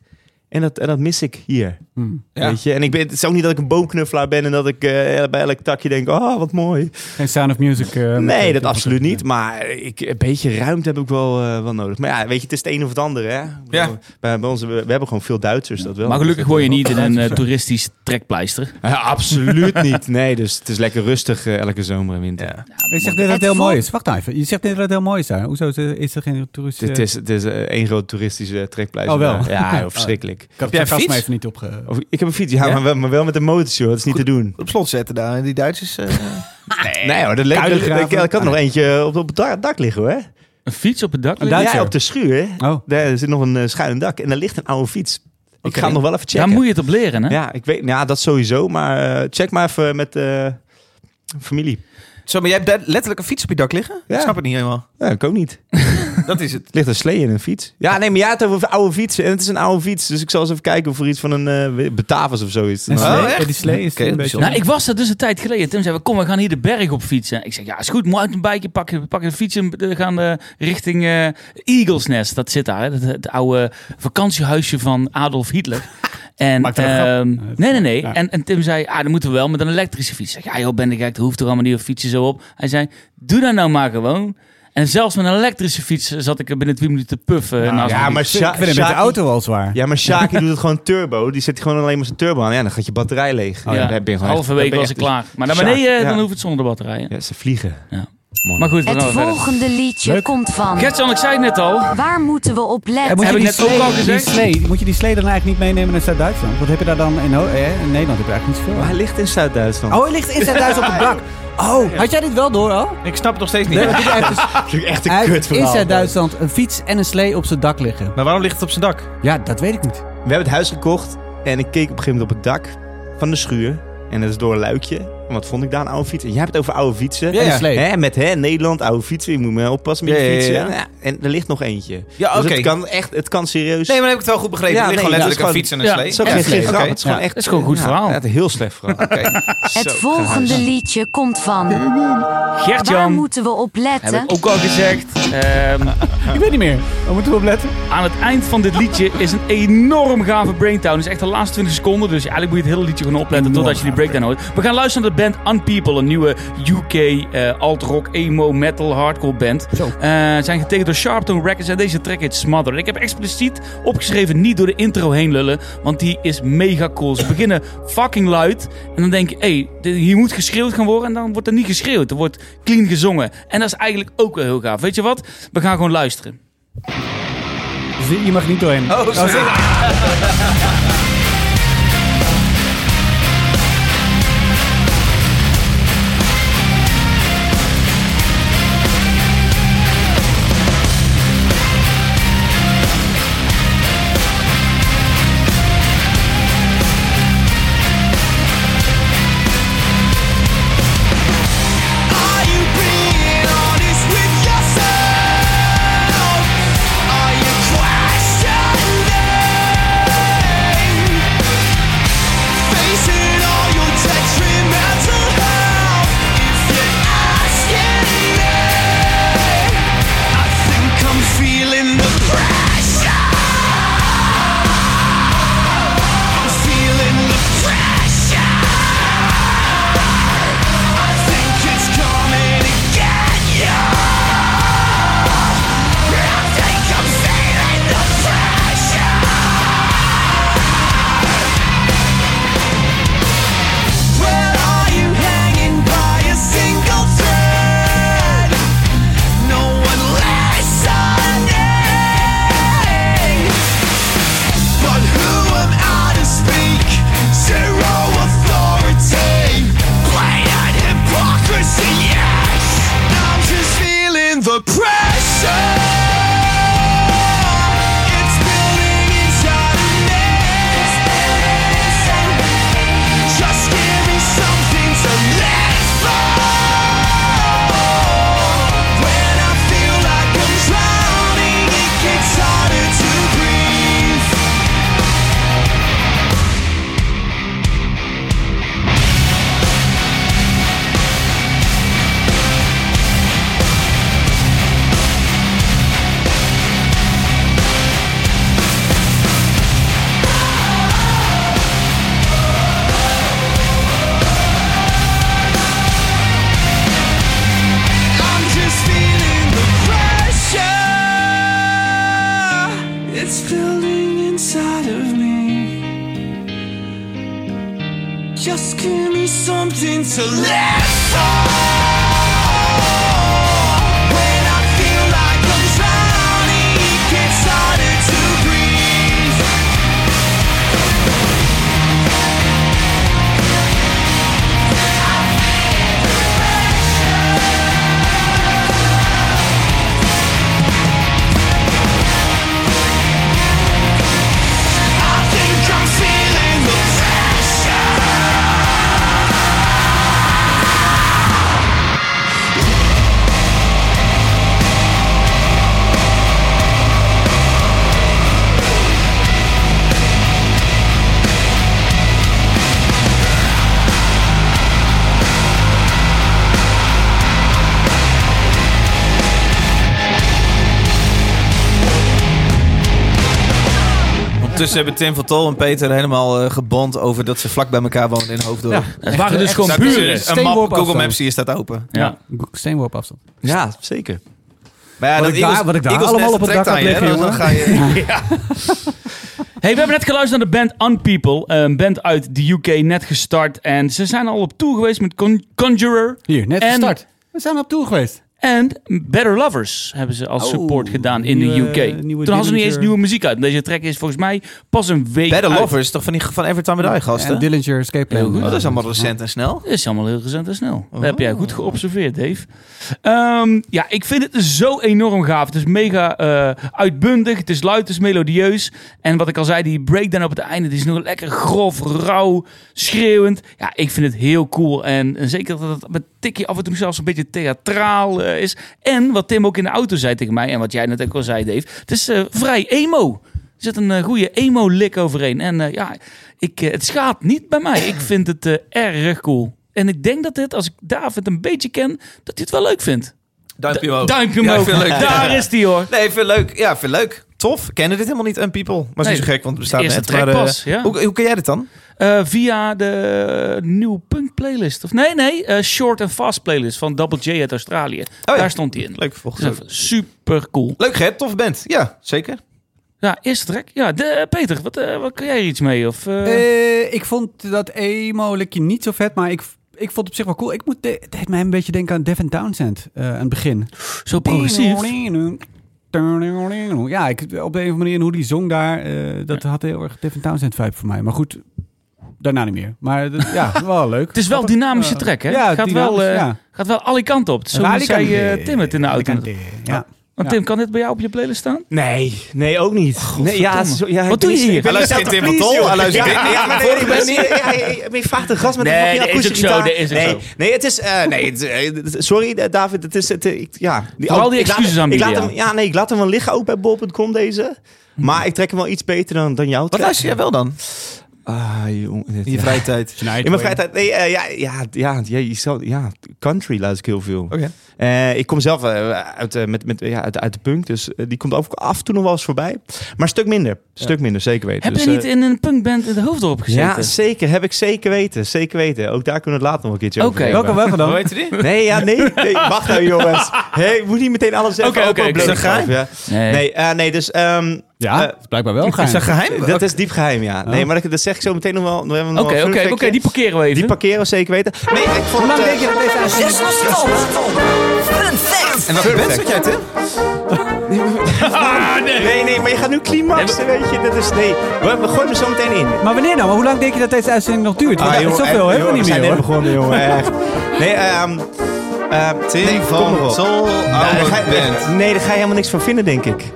Speaker 4: En dat, en dat mis ik hier.
Speaker 1: Hm.
Speaker 2: Ja.
Speaker 4: Weet je? En ik ben, het is ook niet dat ik een boomknuffelaar ben en dat ik eh, bij elk takje denk: oh, wat mooi.
Speaker 1: Geen Sound of Music. eh, met-
Speaker 4: nee, dat
Speaker 1: met-
Speaker 4: absoluut
Speaker 1: met-
Speaker 4: niet. Maar ik, een beetje ruimte heb ik wel, eh, wel nodig. Maar ja, weet je, het is het een of het andere. Hè? Ik bedoel,
Speaker 2: Ja.
Speaker 4: Bij, bij ons, we, we hebben gewoon veel Duitsers, dat wel.
Speaker 3: Maar gelukkig
Speaker 4: Dus dat-
Speaker 3: hoor je niet in een eh, toeristisch trekpleister.
Speaker 4: Ja, absoluut niet. Nee, dus het is lekker rustig eh, elke zomer en winter.
Speaker 2: Ja.
Speaker 1: Je zegt net dat het
Speaker 5: Het
Speaker 1: heel
Speaker 5: voelt-
Speaker 1: mooi is. Wacht nou even. Je zegt net dat het heel mooi is daar. Hoezo is er, is er geen toeristische...
Speaker 4: Het is, het is eh, één groot toeristische trekpleister.
Speaker 1: Oh, wel?
Speaker 4: daar. Ja, joh, verschrikkelijk.
Speaker 1: Ik had
Speaker 2: jij
Speaker 1: het sarcasme
Speaker 2: fiets?
Speaker 1: even niet opge...
Speaker 4: Of, ik heb een fiets, ja,
Speaker 2: Ja?
Speaker 4: Maar, wel, maar wel met een motor, joh. Dat is niet te doen.
Speaker 2: Op slot zetten daar, die Duitsers. eh,
Speaker 4: Nee hoor, dat leek,
Speaker 1: Kuilen
Speaker 4: dat-
Speaker 1: graven.
Speaker 4: dat-
Speaker 1: Ah,
Speaker 4: ik, ik had nog eentje op, op het dak, dak liggen hoor.
Speaker 3: Een fiets op het dak?
Speaker 1: Een
Speaker 3: liggen?
Speaker 1: Duitser?
Speaker 4: Ja, op de schuur.
Speaker 1: Oh.
Speaker 4: Daar zit nog een eh, schuin dak en daar ligt een oude fiets. Ik ga hem nog wel even checken.
Speaker 3: Daar moet je het op leren, hè?
Speaker 4: Ja, ik weet, ja, dat sowieso. Maar eh, check maar even met eh, familie.
Speaker 2: Zo, maar jij hebt daar letterlijk een fiets op je dak liggen?
Speaker 4: Ja.
Speaker 2: Ik snap het niet helemaal.
Speaker 4: Ja, ik ook niet.
Speaker 2: Dat is het.
Speaker 4: Er ligt een slee in een fiets. Ja, nee, maar jij had het over oude fietsen. En het is een oude fiets. Dus ik zal eens even kijken of er iets van een eh Batavus of zoiets.
Speaker 1: En
Speaker 4: Nou,
Speaker 1: slee-
Speaker 2: Oh, echt?
Speaker 1: eh, die slee is
Speaker 2: Oké,
Speaker 1: een beetje...
Speaker 2: bijzonder.
Speaker 3: Nou, ik was daar dus een tijd geleden. Tim zei, we, kom, we gaan hier de berg op fietsen. Ik zeg, ja, is goed, mountainbiken pakken, we pakken de fiets en we gaan eh, richting eh Eagles Nest. Dat zit daar, hè? Het, het oude vakantiehuisje van Adolf Hitler. En,
Speaker 1: Maakt dat een grap?
Speaker 3: ehm,
Speaker 1: Nee,
Speaker 3: nee, nee, nee.
Speaker 1: ja.
Speaker 3: En, en Tim zei, ah, dan moeten we wel met een elektrische fiets. Ik zeg, ja joh, ben ik gek, dat hoeft er allemaal niet op fietsen zo op. Hij zei, doe dat nou maar gewoon. En zelfs met een elektrische fiets eh, zat ik er binnen twee minuten te puffen.
Speaker 1: Nou,
Speaker 3: naast
Speaker 4: ja,
Speaker 3: mijn
Speaker 4: maar
Speaker 1: Ik vind
Speaker 4: Sha-
Speaker 1: het met de
Speaker 4: Shaki-
Speaker 1: auto al zwaar.
Speaker 4: Ja, maar Shaki doet het gewoon turbo. Die zet gewoon alleen maar zijn turbo aan. Ja, dan gaat je batterij leeg.
Speaker 3: fiets. Oh Ja,
Speaker 4: dan ben je gewoon
Speaker 3: halve
Speaker 4: echt-
Speaker 3: week
Speaker 4: dan ben je
Speaker 3: was ik
Speaker 4: echt-
Speaker 3: klaar. Maar naar
Speaker 4: Sjaak,
Speaker 3: beneden, eh,
Speaker 4: ja.
Speaker 3: dan hoeft het zonder de batterij. hè?
Speaker 4: Ja, ze vliegen.
Speaker 3: Ja.
Speaker 4: Mooi.
Speaker 3: Maar goed, dan
Speaker 5: Het
Speaker 3: gaan we verder.
Speaker 5: volgende liedje
Speaker 1: Leuk.
Speaker 5: komt van.
Speaker 3: Gertjan, ik zei het net al.
Speaker 5: Waar moeten we op
Speaker 1: En
Speaker 5: letten?
Speaker 1: moet je
Speaker 3: Heb
Speaker 1: die
Speaker 3: ik net ook
Speaker 1: slee-
Speaker 3: al
Speaker 1: die
Speaker 3: gezegd?
Speaker 1: slee- Moet je die slee dan eigenlijk niet meenemen naar Zuid-Duitsland? Wat heb je daar dan in, Ho- eh, in Nederland? Heb je eigenlijk niet zoveel.
Speaker 4: Maar hij ligt in Zuid-Duitsland.
Speaker 1: Oh, hij ligt in Zuid-Duitsland op het dak. Oh, had jij dit wel door al?
Speaker 2: Ik snap het nog steeds niet.
Speaker 1: Nee, want hij heeft dus-
Speaker 4: dat is echt
Speaker 1: hij heeft in
Speaker 4: We
Speaker 1: Zuid-Duitsland een fiets en een slee op zijn dak liggen.
Speaker 2: Maar waarom ligt het op zijn dak?
Speaker 1: Ja, dat weet ik niet.
Speaker 4: hebben het huis gekocht en ik keek op een gegeven moment op het dak van de schuur. En dat is door een luikje. En wat vond ik daar een oude fiets? En jij hebt het over oude fietsen.
Speaker 2: Ja,
Speaker 1: En
Speaker 2: ja.
Speaker 1: een slee.
Speaker 4: Hè, met hè, Nederland, oude fietsen. Je moet me oppassen met je
Speaker 2: Ja, ja, ja,
Speaker 4: fietsen.
Speaker 2: ja.
Speaker 4: Ja, en er ligt nog eentje.
Speaker 2: Ja,
Speaker 4: Dus
Speaker 2: oké.
Speaker 4: het kan echt, het kan
Speaker 2: Nee,
Speaker 4: serieus.
Speaker 2: maar dan heb ik het wel goed begrepen.
Speaker 4: Ja,
Speaker 2: er ligt
Speaker 4: nee,
Speaker 2: gewoon
Speaker 4: dat
Speaker 2: letterlijk een
Speaker 4: is
Speaker 2: fiets en een
Speaker 3: gewoon-
Speaker 2: slee.
Speaker 4: het is ook
Speaker 2: Ja,
Speaker 4: geen
Speaker 2: slee,
Speaker 4: grap.
Speaker 2: oké.
Speaker 4: Het is gewoon
Speaker 1: Ja,
Speaker 4: echt
Speaker 3: het is gewoon een goed
Speaker 4: ja,
Speaker 3: verhaal.
Speaker 4: ja, het is een heel slecht verhaal. Zo,
Speaker 5: Het volgende
Speaker 4: gaaf.
Speaker 5: liedje komt van. Waar
Speaker 3: Gertjan,
Speaker 5: moeten we op
Speaker 3: heb ik
Speaker 5: letten?
Speaker 3: ook al gezegd. ehm,
Speaker 1: Ik weet niet meer. Waar moeten we op letten?
Speaker 3: aan het eind van dit liedje is een enorm gave breakdown. Het is echt de laatste 20 seconden, dus eigenlijk moet je het hele liedje gewoon opletten
Speaker 1: Enorm
Speaker 3: totdat je die breakdown hoort. We gaan luisteren naar de band Unpeople, een nieuwe UK eh, alt-rock, emo, metal, hardcore band.
Speaker 1: Zo.
Speaker 3: Eh, zijn getekend door Sharptone Records en deze track heet Smother. Ik heb expliciet opgeschreven niet door de intro heen lullen, want die is mega cool. Ze beginnen fucking luid en dan denk je, hé, dit- hier moet geschreeuwd gaan worden en dan wordt er niet geschreeuwd. Er wordt clean gezongen en dat is eigenlijk ook wel heel gaaf. Weet je wat? We gaan gewoon luisteren.
Speaker 1: Dus je mag niet doorheen.
Speaker 2: Oh, sorry.
Speaker 6: Are you being honest with yourself? Are you questioning Just give me something to last for. When I feel like I'm drowning, it gets harder to breathe. I think I'm feeling the pressure.
Speaker 2: Ondertussen hebben Tim van Tol en Peter helemaal eh, gebond over dat ze vlak bij elkaar wonen in Hoofddorp.
Speaker 3: Het waren dus gewoon
Speaker 2: Staat
Speaker 3: buren.
Speaker 2: dus Een map
Speaker 1: Steenworp
Speaker 2: Google
Speaker 1: afstand.
Speaker 2: Maps hier staat open.
Speaker 3: Ja.
Speaker 1: Steenworp afstand.
Speaker 4: Ja, zeker.
Speaker 2: Maar ja,
Speaker 1: Wat
Speaker 2: dat
Speaker 1: ik daar-
Speaker 2: Eagles-
Speaker 1: wat ik daar
Speaker 2: Eagles
Speaker 1: allemaal
Speaker 2: Nest
Speaker 1: op het
Speaker 2: trekt
Speaker 1: dak
Speaker 2: aan je,
Speaker 1: had
Speaker 2: hè?
Speaker 1: liggen,
Speaker 2: Dan ga je-
Speaker 3: Hey, we hebben net geluisterd naar de band Unpeople. Een band uit de UK, net gestart. En ze zijn al op tour geweest met Con- Conjurer
Speaker 1: Hier, net
Speaker 3: En-
Speaker 1: gestart. We zijn op tour geweest.
Speaker 3: en Better Lovers. Hebben ze als
Speaker 1: Oh,
Speaker 3: support gedaan in de
Speaker 1: nieuwe-
Speaker 3: UK. Toen
Speaker 1: nieuwe
Speaker 3: hadden ze niet eens
Speaker 1: Dillinger.
Speaker 3: nieuwe muziek uit. Deze track is volgens mij pas een week
Speaker 2: Better
Speaker 3: uit.
Speaker 2: Lovers, toch van, die, van Every Time I Die gasten?
Speaker 1: En Dillinger Escape Plan.
Speaker 3: Heel goed.
Speaker 2: Oh, dat is allemaal recent en snel.
Speaker 3: Dat is allemaal heel recent en snel.
Speaker 1: Oh.
Speaker 3: Dat heb jij goed geobserveerd, Dave. Ehm, ja, ik vind het zo enorm gaaf. Het is mega eh, uitbundig. Het is luid, het is melodieus. En wat ik al zei, die breakdown op het einde... die is nog lekker grof, rauw, schreeuwend. Ja, ik vind het heel cool. En, en zeker dat het met tikje af en toe zelfs een beetje theatraal eh, is. En wat Tim ook in de auto zei tegen mij... en wat jij net ook al zei, Dave... het is eh, vrij emo. Er zit een eh, goede emo-lik overheen. En eh, ja, ik, eh, het schaadt niet bij mij. Ik vind het eh, erg cool. En ik denk dat dit, als ik David een beetje ken, dat hij het wel leuk vindt.
Speaker 2: Duimpje omhoog.
Speaker 3: Duimpje
Speaker 2: Ja,
Speaker 3: omhoog.
Speaker 2: vind ik leuk.
Speaker 3: Daar is die hoor.
Speaker 2: Nee, veel leuk. Ja, veel leuk. Tof. Kennen dit helemaal niet, een people. Maar is
Speaker 3: Nee.
Speaker 2: niet zo gek, want het bestaat
Speaker 3: Eerste
Speaker 2: net.
Speaker 3: track
Speaker 2: maar, eh,
Speaker 3: pas, ja.
Speaker 2: hoe, hoe ken jij dit dan?
Speaker 3: Eh, via de nieuwe punk playlist. Of nee, nee. eh, Short and Fast playlist van Double J uit Australië.
Speaker 2: Oh ja.
Speaker 3: Daar stond hij in.
Speaker 2: Leuk, volgens
Speaker 3: Dus even super cool.
Speaker 2: Leuk, Gert. Tof band. Ja, zeker.
Speaker 3: Ja, eerste track. Ja, de, eh, Peter, wat, eh, wat kan jij hier iets mee? Of, eh,
Speaker 1: Eh, ik vond dat emo-likje niet zo vet, maar ik, ik vond het op zich wel cool. Ik moet de, het deed mij een beetje denken aan Devin Townsend eh, aan het begin.
Speaker 3: zo progressief.
Speaker 1: Ja, ik, op de een of andere manier hoe die zong daar, eh, dat had heel erg Devin Townsend vibe voor mij. Maar goed, daarna niet meer. Maar dat- ja, wel leuk.
Speaker 3: Het is wel dynamische track, hè?
Speaker 1: Ja,
Speaker 3: gaat, wel,
Speaker 1: dynamisch,
Speaker 3: eh,
Speaker 1: ja.
Speaker 3: gaat wel alle kanten op. Zo
Speaker 1: Radicante.
Speaker 3: zei eh, Tim het in de auto. Ah,
Speaker 1: Radicante, Ja.
Speaker 3: Want Tim, kan dit bij jou op je playlist staan?
Speaker 4: Nee, nee, ook niet. Nee, ja, zo- ja,
Speaker 3: Wat
Speaker 4: ik
Speaker 3: doe
Speaker 4: ben
Speaker 3: je
Speaker 4: niet-
Speaker 3: hier?
Speaker 4: ik ben
Speaker 2: Hij
Speaker 4: niet
Speaker 2: luistert
Speaker 4: aan
Speaker 2: geen Tim
Speaker 4: het
Speaker 2: van Tol, hij
Speaker 4: pleasen,
Speaker 2: luistert
Speaker 4: joh.
Speaker 2: geen-
Speaker 4: Ja, ja, maar nee, ik ben niet- ja, ja, ja, Maar je vraagt een gast met
Speaker 3: Nee,
Speaker 4: een fucking
Speaker 3: dat is ook
Speaker 4: akoestische
Speaker 3: zo,
Speaker 4: gitaar.
Speaker 3: dat is ook zo.
Speaker 4: Nee, nee, het is... eh, nee, het, eh, het- sorry, eh, David. Het is... Het, eh, ik- ja,
Speaker 3: Vooral die
Speaker 4: ik laat-
Speaker 3: excuses aanbieden,
Speaker 4: ik laat hem-
Speaker 3: ja.
Speaker 4: Ja, nee, ik laat hem wel liggen ook bij bol.com deze. Maar ik trek hem wel iets beter dan, dan jouw
Speaker 2: Wat
Speaker 4: track.
Speaker 2: luister jij wel dan?
Speaker 4: Ah, jong. dit-
Speaker 2: In je
Speaker 4: ja.
Speaker 2: vrije tijd.
Speaker 4: In mijn vrije tijd... Nee, eh, ja, ja, ja, ja, je zou- ja, country luister ik heel veel.
Speaker 3: Oh
Speaker 2: Oké.
Speaker 4: Eh, ik kom zelf eh, uit, eh, met, met, ja, uit, uit de punk, dus eh, die komt ook af en toe nog wel eens voorbij. Maar een stuk minder. Een stuk minder, zeker weten.
Speaker 3: Heb
Speaker 4: Dus,
Speaker 3: je
Speaker 4: eh,
Speaker 3: niet in een punkband in de hoofddorp gezeten?
Speaker 4: Ja, zeker. Heb ik zeker weten. Zeker weten. Ook daar kunnen we het later nog een keertje
Speaker 3: Oké.
Speaker 4: over hebben.
Speaker 1: Welke welke dan?
Speaker 2: Hoe heet die?
Speaker 4: Nee, ja, nee. nee. Wacht nou, jongens. Hey, moet niet meteen alles zeggen.
Speaker 3: Oké,
Speaker 4: Ook
Speaker 3: oké,
Speaker 4: wel
Speaker 3: oké.
Speaker 4: bloot
Speaker 2: Is dat
Speaker 4: geven, ja.
Speaker 3: Nee.
Speaker 4: Nee, eh, nee, dus... ehm,
Speaker 1: Ja,
Speaker 4: Eh,
Speaker 1: blijkbaar wel.
Speaker 2: Is dat
Speaker 1: Geheim.
Speaker 2: geheim?
Speaker 4: dat is diep geheim, ja. Nee,
Speaker 1: Oh.
Speaker 4: maar dat, dat zeg ik zo meteen nog wel. Oké, oké,
Speaker 3: Oké, oké, oké, die parkeren we even.
Speaker 4: Die parkeren we zeker weten. Nee, ik vond
Speaker 1: Hoe lang
Speaker 4: het, eh,
Speaker 1: denk je dat deze uitzending...
Speaker 6: Zes was Fun fact.
Speaker 2: En wat band zat jij, Tim?
Speaker 4: Nee, nee, maar je gaat nu climaxen, weet je. Dat is... Nee, we, we gooien hem zo meteen in.
Speaker 1: Maar wanneer nou? Maar hoe lang denk je dat deze uitzending nog duurt? Want
Speaker 4: Ah,
Speaker 1: ja,
Speaker 4: joh,
Speaker 1: zoveel
Speaker 4: eh,
Speaker 1: hebben we niet
Speaker 4: joh,
Speaker 1: meer,
Speaker 4: zijn net
Speaker 1: hoor.
Speaker 4: begonnen, jongen. Echt. Nee, ehm... ehm,
Speaker 2: Tim
Speaker 4: nee, kom maar
Speaker 2: van
Speaker 4: op.
Speaker 2: Tol,
Speaker 4: Nou, daar
Speaker 2: oude
Speaker 4: ga je-
Speaker 2: band.
Speaker 4: nee, daar ga je helemaal niks van vinden, denk ik.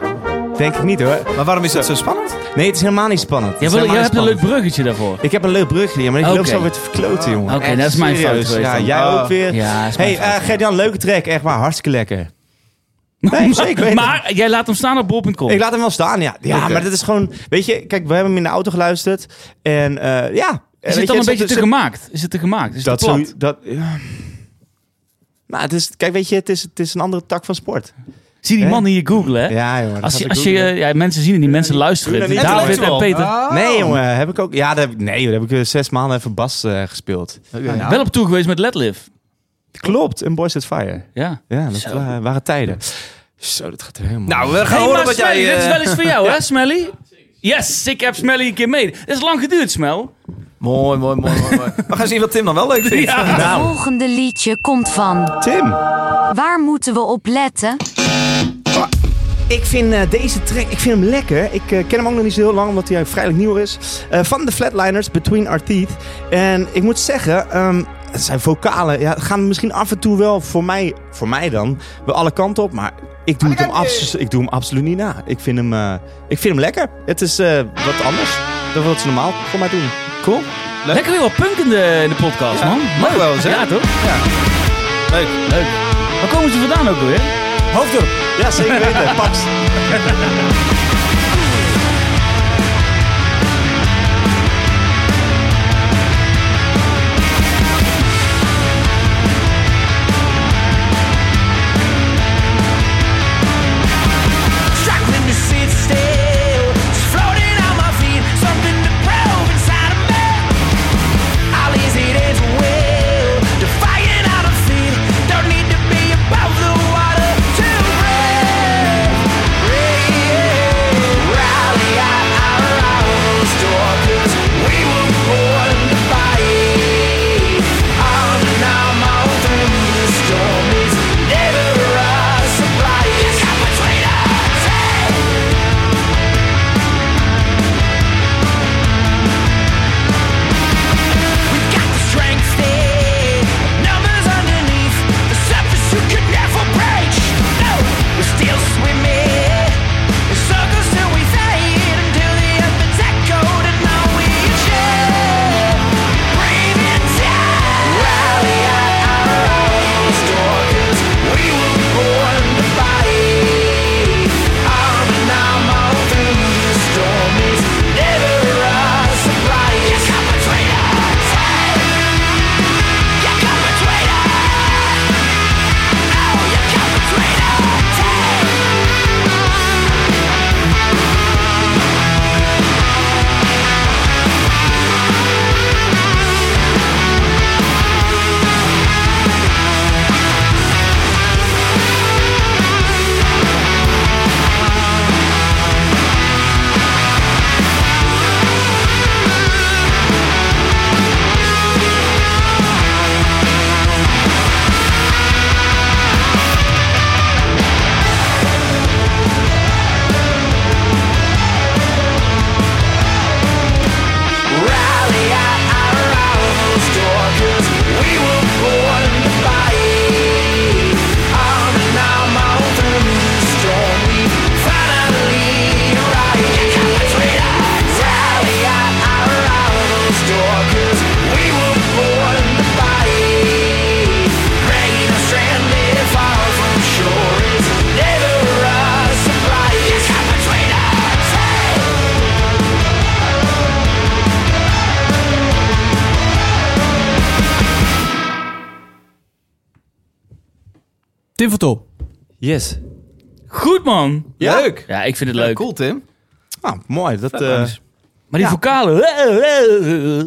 Speaker 4: Denk ik niet hoor.
Speaker 2: Maar waarom is dat zo spannend?
Speaker 4: Nee, het is helemaal niet spannend. Het
Speaker 3: Jij,
Speaker 4: is
Speaker 3: wil, jij
Speaker 4: helemaal
Speaker 3: hebt een
Speaker 4: niet
Speaker 3: leuk
Speaker 4: spannend.
Speaker 3: bruggetje daarvoor.
Speaker 4: Ik heb een leuk brugje, maar ik loop
Speaker 3: Oké.
Speaker 4: zo weer te verkloten, jongen.
Speaker 3: Oké,
Speaker 4: Echt
Speaker 3: dat is mijn fout
Speaker 4: serieus.
Speaker 3: geweest
Speaker 4: Ja,
Speaker 3: dan.
Speaker 4: jij
Speaker 2: Ah.
Speaker 4: ook weer.
Speaker 3: Ja, is mijn
Speaker 4: hey, eh Gert-Jan, leuke track. Echt waar, hartstikke lekker. Nee, zeker weten.
Speaker 3: Maar jij laat hem staan op bol.com.
Speaker 4: Ik laat hem wel staan, ja. Ja,
Speaker 3: Oké.
Speaker 4: maar dat is gewoon... Weet je, kijk, we hebben hem in de auto geluisterd. En eh, ja...
Speaker 3: Is het dan een beetje te gemaakt? Is het te gemaakt? Is het
Speaker 4: Dat
Speaker 3: te plat?
Speaker 4: zo... Dat, ja. Nou, het is... Kijk, weet je, het is, het is een andere tak van sport.
Speaker 3: Zie die
Speaker 4: Hè?
Speaker 3: man hier googlen, hè?
Speaker 4: Ja, jongen. dat
Speaker 3: als
Speaker 4: gaat
Speaker 3: je,
Speaker 4: ik
Speaker 3: als je,
Speaker 4: googlen.
Speaker 3: eh, ja, mensen zien het niet, mensen luisteren.
Speaker 4: doe
Speaker 3: het.
Speaker 4: dat niet.
Speaker 3: David en
Speaker 2: Intellectual.
Speaker 3: Peter.
Speaker 4: Nee, jongen, heb ik ook... Ja, daar heb ik, nee, joh, daar heb ik eh, zes maanden even bas eh, gespeeld.
Speaker 3: Wel op toe geweest met Letliv.
Speaker 4: Klopt, en Boys at Fire.
Speaker 3: Ja.
Speaker 4: Ja, dat
Speaker 3: Zo.
Speaker 4: wa- waren tijden. Zo, dat gaat helemaal...
Speaker 2: Nou, we gaan
Speaker 3: Hey,
Speaker 2: horen
Speaker 3: maar
Speaker 2: wat
Speaker 3: Smelly,
Speaker 2: jij...
Speaker 3: dit is
Speaker 2: eh,
Speaker 3: wel eens voor jou, hè, Smelly? Yes, ik heb Smelly een keer mee. Het is lang geduurd, Smel.
Speaker 2: Mooi, mooi, mooi, mooi. mooi. We gaan zien wat Tim dan wel leuk vindt.
Speaker 5: Het volgende liedje komt van.
Speaker 4: Tim.
Speaker 5: Waar moeten we op letten?
Speaker 4: Ik vind eh, deze track, ik vind hem lekker. Ik eh, ken hem ook nog niet zo heel lang, omdat hij vrijelijk nieuw is. Eh, van de Flatliners, Between Our Teeth. En ik moet zeggen, ehm, het zijn vocalen. Ja, gaan misschien af en toe wel, voor mij, voor mij dan, wel alle kanten op. Maar ik doe, het hem, abs- ik doe hem absoluut niet na. Ik vind hem, eh, ik vind hem lekker. Het is eh, wat anders dan wat ze normaal voor mij doen.
Speaker 2: Cool.
Speaker 3: Lekker weer wat punk in de, in de podcast, man.
Speaker 2: Mag wel eens, hè?
Speaker 3: Ja, toch?
Speaker 2: Leuk.
Speaker 3: Leuk. Waar komen ze vandaan ook weer?
Speaker 2: Hoofddorp.
Speaker 4: Ja, zeker weten. Pax.
Speaker 6: Struggling to sit still. It's floating on my feet. Something to probe inside of me. I'll ease it as will. Defying out of fear. Don't need to be above the water to brave. Brave. Rally at our hours door. 'cause we were born to fight. On and on, all through the storm. It's never a surprise. It's come between us. Hey! Got the strength there, numbers underneath the surface you could never break. No, we're still swimming in circles till we fade until the earth echoed and now we share. Breathing down, rally at our own door 'cause we were born to fight. Arm in arm all through the storm is never a surprise. You come between us. You come between us. Oh, you come between us. Rally at our house door 'cause we were born to fight. On and on, all through the storm, we finally arrived. You come between us. Rally at our house door 'cause we were born to fight. Rain or stranded far from shore is never a surprise. You come between us. Hey!
Speaker 1: Tim van Top.
Speaker 3: Yes. Goed, man.
Speaker 2: Leuk.
Speaker 3: Ja, ik vind het
Speaker 2: Leuk.
Speaker 3: leuk.
Speaker 2: Cool, Tim.
Speaker 4: Nou, mooi. Dat, eh,
Speaker 3: Maar die vocalen...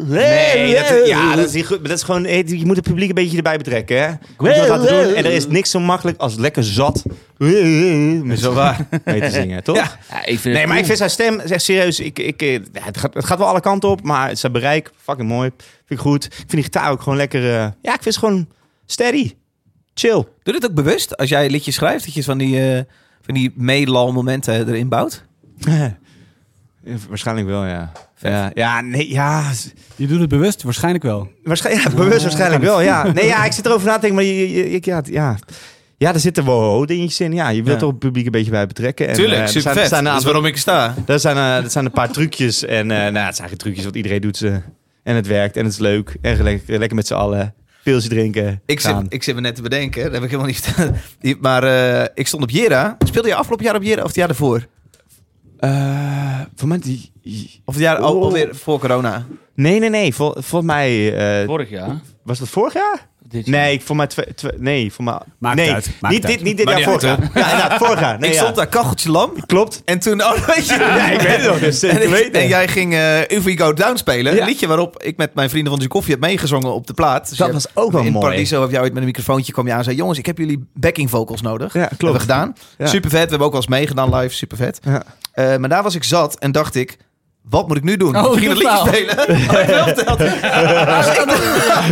Speaker 4: Nee, dat, ja, dat is, niet goed, maar dat is gewoon. eh, Je moet het publiek een beetje erbij betrekken. Hè? Moet je dat laten doen. En er is niks zo makkelijk als lekker zat. eh, Met zo waar. mee te zingen, toch?
Speaker 2: Ja.
Speaker 3: Ja, ik vind het
Speaker 4: Nee, maar
Speaker 3: cool.
Speaker 4: ik vind zijn stem echt serieus. Ik, ik, eh, het, gaat, het gaat wel alle kanten op, maar zijn bereik fucking mooi. Vind ik goed. Ik vind die gitaar ook gewoon lekker. eh, ja, ik vind het gewoon steady. Chill.
Speaker 2: Doe dit ook bewust als jij liedjes schrijft, dat je van die, eh, van die meelal momenten erin bouwt?
Speaker 4: Waarschijnlijk wel, ja. Ja, ja, nee, ja.
Speaker 1: Je doet het bewust, waarschijnlijk wel.
Speaker 4: Waarschijnlijk, ja, bewust waarschijnlijk wel, ja. Nee, ja, ik zit erover na te denken, maar je, je- ik- ja, het- ja. Ja, daar zitten wel dingetjes in. Ja, je wilt
Speaker 2: Ja.
Speaker 4: er het publiek een beetje bij betrekken. En, eh, er zijn- er Zijn, een aantal-
Speaker 2: ik sta.
Speaker 4: er zijn, eh, er zijn een paar trucjes. En eh, nou, het zijn geen trucjes, want iedereen doet ze. En het werkt en het is leuk. En lekker, lekker met z'n allen. Pilsje drinken.
Speaker 2: Ik zit,
Speaker 4: gaan.
Speaker 2: ik zit me net te bedenken, dat heb ik helemaal niet verteld. Die- Maar eh, ik stond op Jera. Speelde je afgelopen jaar op Jera of het jaar daarvoor?
Speaker 4: Eh, voor mij die...
Speaker 2: Of het jaar al,
Speaker 4: Oh.
Speaker 2: alweer voor corona?
Speaker 4: Nee, nee, nee. Vol, volgens mij... eh,
Speaker 3: Vorig jaar.
Speaker 4: was dat vorig jaar?
Speaker 3: Dit jaar.
Speaker 4: Nee, ik voor mij... twe- twe- nee, voor mij...
Speaker 1: Maakt
Speaker 4: nee,
Speaker 1: uit, maakt
Speaker 4: niet,
Speaker 1: uit.
Speaker 4: Dit, niet dit
Speaker 2: Maakt
Speaker 4: jaar,
Speaker 2: niet
Speaker 4: vorig
Speaker 2: uit,
Speaker 4: jaar. Ja, inderdaad, vorig jaar. Nee,
Speaker 2: ik
Speaker 4: ja.
Speaker 2: stond daar kacheltje lam.
Speaker 4: Klopt.
Speaker 2: En toen, oh, weet je.
Speaker 4: Ja, ik weet het nog. Dus,
Speaker 2: En,
Speaker 4: ik
Speaker 2: ik-
Speaker 4: weet
Speaker 2: en
Speaker 4: het.
Speaker 2: jij ging eh If We Go Down spelen.
Speaker 4: Ja.
Speaker 2: Een liedje waarop ik met mijn vrienden van de koffie heb meegezongen op de plaat. Dus
Speaker 4: Dat
Speaker 2: je
Speaker 4: was
Speaker 2: hebt-
Speaker 4: ook wel
Speaker 2: in
Speaker 4: mooi.
Speaker 2: Paradiso heb jij ooit met een microfoontje kwam je aan en zei... Jongens, ik heb jullie backing vocals nodig.
Speaker 4: Ja,
Speaker 2: Hebben we
Speaker 4: klopt.
Speaker 2: gedaan.
Speaker 4: Ja.
Speaker 2: Super vet. We hebben ook wel eens meegedaan live. Super vet.
Speaker 4: Ja.
Speaker 2: Eh, maar daar was ik zat en dacht ik... Wat moet ik nu doen?
Speaker 1: Oh,
Speaker 2: ik ging het
Speaker 1: dat
Speaker 2: liedje
Speaker 1: wel.
Speaker 2: spelen. Had ik wel verteld. Dus ik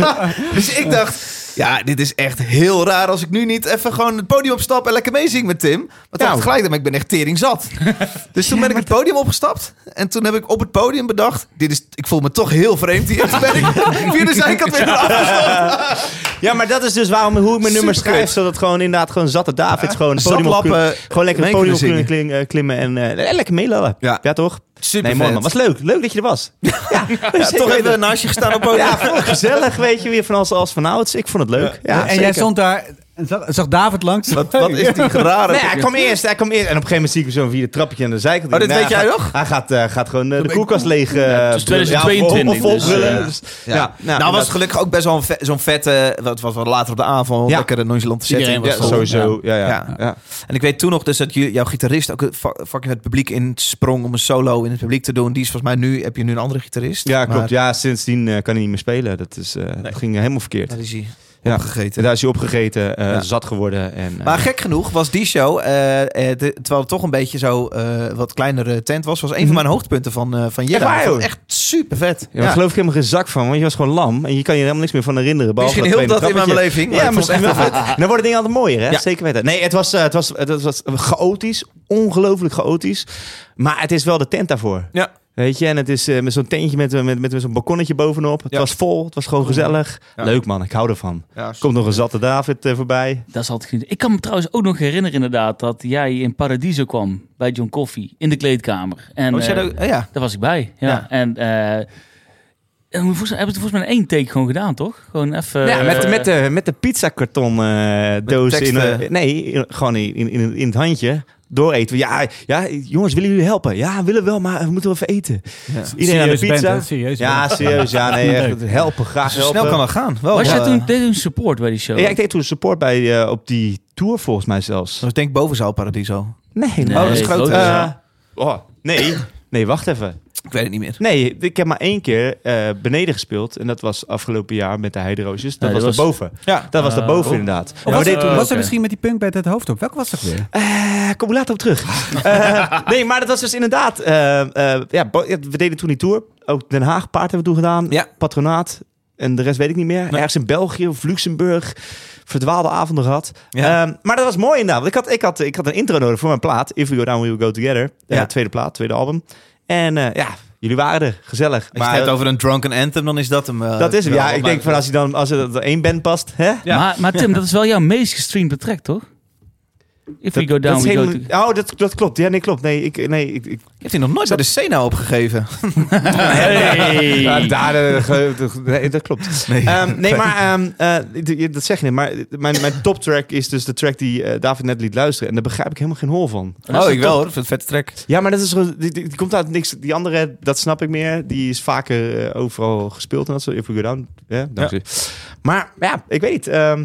Speaker 2: dacht- dus ik dacht, ja, dit is echt heel raar als ik nu niet even gewoon het podium opstap en lekker meezing met Tim. Maar toen
Speaker 4: Nou.
Speaker 2: had ik gelijk, maar ik ben echt tering zat. Dus toen ben ik het podium opgestapt en toen heb ik op het podium bedacht, dit is, ik voel me toch heel vreemd hier. En toen ben ik via de zijkant weer eraf.
Speaker 4: Ja, maar dat is dus waarom hoe ik mijn nummer
Speaker 2: Superkut.
Speaker 4: schrijf. Zodat gewoon inderdaad gewoon zatte Davids gewoon het podium op
Speaker 2: Zatlappen,
Speaker 4: kunnen- Gewoon lekker het
Speaker 2: mee
Speaker 4: podium
Speaker 2: kunnen
Speaker 4: op kunnen kling- eh, klimmen en eh, lekker meelullen.
Speaker 2: Ja.
Speaker 4: Ja. toch?
Speaker 2: Super
Speaker 4: nee, man. Was leuk. Leuk dat je er was. Ja,
Speaker 2: Toch even naast je gestaan op het podium.
Speaker 4: Ja, vond het gezellig, weet je, weer van alles als vanouds. Ik vond het leuk. Ja,
Speaker 1: en
Speaker 4: zeker.
Speaker 1: jij stond daar, en zag, zag David langs.
Speaker 2: Wat, wat is die rare...
Speaker 4: Nee, hij kwam eerst, hij kwam eerst. En op een gegeven moment zie ik hem zo via het trapje aan de zijkant.
Speaker 2: Oh, dit
Speaker 4: Nee,
Speaker 2: weet
Speaker 4: hij
Speaker 2: jij
Speaker 4: gaat-
Speaker 2: nog?
Speaker 4: Hij gaat, eh, gaat gewoon eh, de koelkast leeg. eh,
Speaker 3: het is
Speaker 4: brullen. Ja,
Speaker 3: 2022,
Speaker 4: of- of
Speaker 3: dus,
Speaker 4: opbrullen.
Speaker 3: eh,
Speaker 4: Dus,
Speaker 2: Ja.
Speaker 4: ja.
Speaker 2: nou, was het
Speaker 4: dat-
Speaker 2: gelukkig ook best wel een ve- zo'n vette, wat was wel later op de avond,
Speaker 4: Ja.
Speaker 2: lekkere nonchalante setting.
Speaker 3: Iedereen was
Speaker 2: Ja,
Speaker 3: vol.
Speaker 2: zo.
Speaker 4: sowieso. Ja, ja.
Speaker 2: Ja.
Speaker 4: ja.
Speaker 2: En ik weet toen nog dus dat ju- jouw gitarist ook een fa- fucking het publiek insprong om een solo in het publiek te doen. Die is volgens mij nu, heb je nu een andere gitarist.
Speaker 4: Ja, klopt.
Speaker 2: Maar-
Speaker 4: Ja, sindsdien eh, kan hij niet meer spelen. Dat, is, eh, dat ging helemaal verkeerd.
Speaker 2: Daar is hij
Speaker 4: Ja.
Speaker 2: opgegeten.
Speaker 4: Daar is hij opgegeten, eh,
Speaker 2: Ja.
Speaker 4: zat geworden. En, eh,
Speaker 2: Maar gek genoeg was die show, eh, eh, de- terwijl het toch een beetje zo eh, wat kleinere tent was, was een van mijn hoogtepunten van, eh van Jera.
Speaker 4: Mhm. Echt waar,
Speaker 2: Ik vond
Speaker 4: joh?
Speaker 2: het echt super vet.
Speaker 4: Ja, maar geloof ik helemaal geen zak van, want je was gewoon lam. En je kan je er helemaal niks meer van herinneren. behalve
Speaker 2: Misschien heel dat in mijn
Speaker 4: trappetje.
Speaker 2: beleving. maar
Speaker 4: Ja,
Speaker 2: ik vond het
Speaker 4: misschien
Speaker 2: echt
Speaker 4: wel.
Speaker 2: wel vet.
Speaker 4: En dan worden dingen altijd mooier, hè?
Speaker 2: Ja.
Speaker 4: Zeker weten. Nee, het was, eh, het was, het was chaotisch. Ongelooflijk chaotisch. Maar het is wel de tent daarvoor.
Speaker 2: Ja.
Speaker 4: Weet je, en het is eh, met zo'n tentje met, met, met, met zo'n balkonnetje bovenop. Het
Speaker 2: Ja.
Speaker 4: was vol, het was gewoon gezellig.
Speaker 2: Ja.
Speaker 4: Leuk man, ik hou ervan.
Speaker 2: Ja,
Speaker 4: Komt nog een zatte David eh, voorbij.
Speaker 3: Dat is altijd genieten. Ik kan me trouwens ook nog herinneren inderdaad dat jij in Paradiso kwam bij John Coffee in de kleedkamer. En,
Speaker 2: Oh, is jij
Speaker 3: eh,
Speaker 2: daar ook- oh, ja.
Speaker 3: Daar was ik bij, ja.
Speaker 2: Ja.
Speaker 3: En eh, en volgens- hebben ze het volgens mij in één take gewoon gedaan, toch? Gewoon even...
Speaker 4: ja, met,
Speaker 3: eh,
Speaker 4: met, de, met de pizzakarton eh doos in,
Speaker 2: teksten.
Speaker 4: eh, nee, in- gewoon in, in, in, in het handje. Door eten. Ja, ja, jongens, willen jullie helpen? Ja, we willen wel, maar we moeten wel even eten. Dus Iedereen aan de
Speaker 1: Serieus
Speaker 4: pizza.
Speaker 1: bent, hè? Serieus
Speaker 4: ja,
Speaker 1: bent.
Speaker 4: serieus. Ja, nee, echt,
Speaker 1: Leuk.
Speaker 4: helpen, graag helpen.
Speaker 2: Snel kan dat gaan. Wel,
Speaker 3: Was jij
Speaker 2: eh,
Speaker 3: toen deed je een support bij die show?
Speaker 4: Ja, ik deed toen support bij eh, op die tour volgens mij zelfs.
Speaker 2: Dat was denk ik bovenzaal Paradiso.
Speaker 4: Nee,
Speaker 3: Nee,
Speaker 2: Oh, dat is
Speaker 3: het
Speaker 2: groot.
Speaker 3: grote
Speaker 2: Eh,
Speaker 3: zaal.
Speaker 4: oh, nee. Nee, wacht even.
Speaker 2: Ik weet het niet meer.
Speaker 4: Nee, ik heb maar één keer eh, beneden gespeeld. En dat was afgelopen jaar met de Heideroosjes. Dat
Speaker 3: Nee,
Speaker 4: was
Speaker 3: dat was-
Speaker 4: daarboven.
Speaker 2: Ja.
Speaker 4: Dat was
Speaker 3: Eh,
Speaker 4: daarboven
Speaker 3: oh.
Speaker 4: inderdaad.
Speaker 1: Ah.
Speaker 3: Ja,
Speaker 1: Of was,
Speaker 3: we
Speaker 1: het-
Speaker 3: deden toen-
Speaker 1: was
Speaker 3: oké.
Speaker 1: er misschien met die punk bij het hoofd op? Welke was dat weer?
Speaker 4: Eh, kom ik later op terug. Eh, nee, maar dat was dus inderdaad... eh, eh, ja, bo- ja, we deden toen die tour. Ook Den Haag Paard hebben we toen gedaan.
Speaker 2: Ja.
Speaker 4: Patronaat. En de rest weet ik niet meer. Ergens in België of Luxemburg. Verdwaalde avonden gehad.
Speaker 2: Ja.
Speaker 4: Ehm, maar dat was mooi inderdaad. Want ik had, ik, had, ik had een intro nodig voor mijn plaat. If We Go Down, We Will Go Together. Eh,
Speaker 2: Ja.
Speaker 4: tweede plaat, tweede album. En eh, ja, jullie waren er. Gezellig.
Speaker 2: Als je het hebt over een drunken anthem, dan is dat hem. eh,
Speaker 4: dat is hem.
Speaker 2: wel
Speaker 4: Ja,
Speaker 2: wat
Speaker 4: ik denk
Speaker 2: mij
Speaker 4: van als je dan als er één band past, hè?
Speaker 2: Ja.
Speaker 3: Maar, maar Tim, dat is wel jouw meest gestreamde track, toch? If we go down,
Speaker 4: is
Speaker 3: we go
Speaker 4: helemaal-
Speaker 3: to-
Speaker 4: Oh, dat, dat klopt. Ja, nee, klopt. Nee, ik, nee, ik, ik-
Speaker 2: betreft. Heeft hij nog nooit bij de Sena opgegeven?
Speaker 3: Hey.
Speaker 4: Ja, daar, eh, ge- de- nee, dat klopt.
Speaker 2: Nee.
Speaker 4: Nee, nee maar ehm, eh, d- je- dat zeg je niet. Maar mijn, mijn toptrack is dus de track die eh, David net liet luisteren. En daar begrijp ik helemaal geen hol van.
Speaker 2: Oh, ik wel hoor. Ik vind het een vette track.
Speaker 4: Ja, maar dat is, gewoon- die, die, die komt uit niks. Die andere, dat snap ik meer. Die is vaker eh, overal gespeeld. En dat soort If We Go Down. Ja, dankzij. Maar ja, ik weet niet. ehm,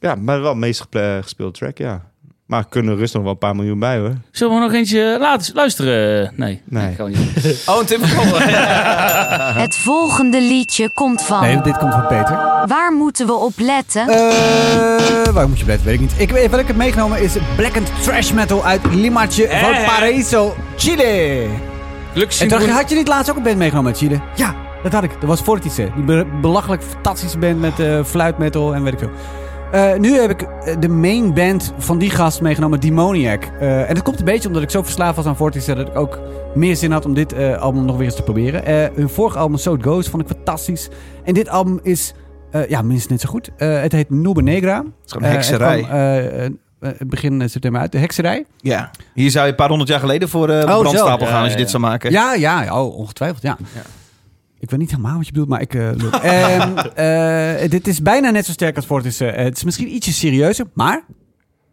Speaker 4: ja, maar wel de meest geple- gespeelde track, ja. Maar kunnen er rustig nog wel een paar miljoen bij, hoor.
Speaker 3: Zullen we nog eentje laten luisteren? Nee.
Speaker 4: Nee.
Speaker 3: dat kan niet.
Speaker 2: Oh, een Tim van
Speaker 5: Het volgende liedje komt
Speaker 1: Ah, Nee,
Speaker 5: van.
Speaker 1: dit komt van Peter.
Speaker 5: Waar moeten we op letten?
Speaker 1: Eh, waar moet je blijven? Weet ik niet. Ik, weet- wat ik heb meegenomen is blackened trash metal uit Limache
Speaker 3: Eh.
Speaker 1: van Paraíso, Chile.
Speaker 3: Gelukkig
Speaker 1: En
Speaker 3: zien
Speaker 1: dacht,
Speaker 3: we-
Speaker 1: had je niet laatst ook een band meegenomen uit Chile? Ja, dat had ik. Dat was Fortice. Die be- belachelijk fantastische band met eh fluitmetal en weet ik veel. Eh, nu heb ik eh, de main band van die gast meegenomen, Demoniac. Eh, en dat komt een beetje omdat ik zo verslaafd was aan Fortice dat ik ook meer zin had om dit eh, album nog weer eens te proberen. Eh, hun vorige album, So It Goes, vond ik fantastisch. En dit album is eh, ja, minstens net zo goed. Eh, het heet Nube Negra. Eh, Het is
Speaker 2: gewoon hekserij.
Speaker 1: begin september uit, de hekserij.
Speaker 2: Ja. Hier zou je een paar honderd jaar geleden voor eh
Speaker 1: Oh, zo.
Speaker 2: brandstapel gaan
Speaker 3: Ja,
Speaker 2: als je
Speaker 3: ja.
Speaker 2: dit zou maken.
Speaker 1: Ja, ja, oh, ongetwijfeld, ja. Ik weet niet helemaal wat je bedoelt, maar ik... eh, loop. Ehm, eh, dit is bijna net zo sterk als Fortis. Eh, het is misschien ietsje serieuzer, maar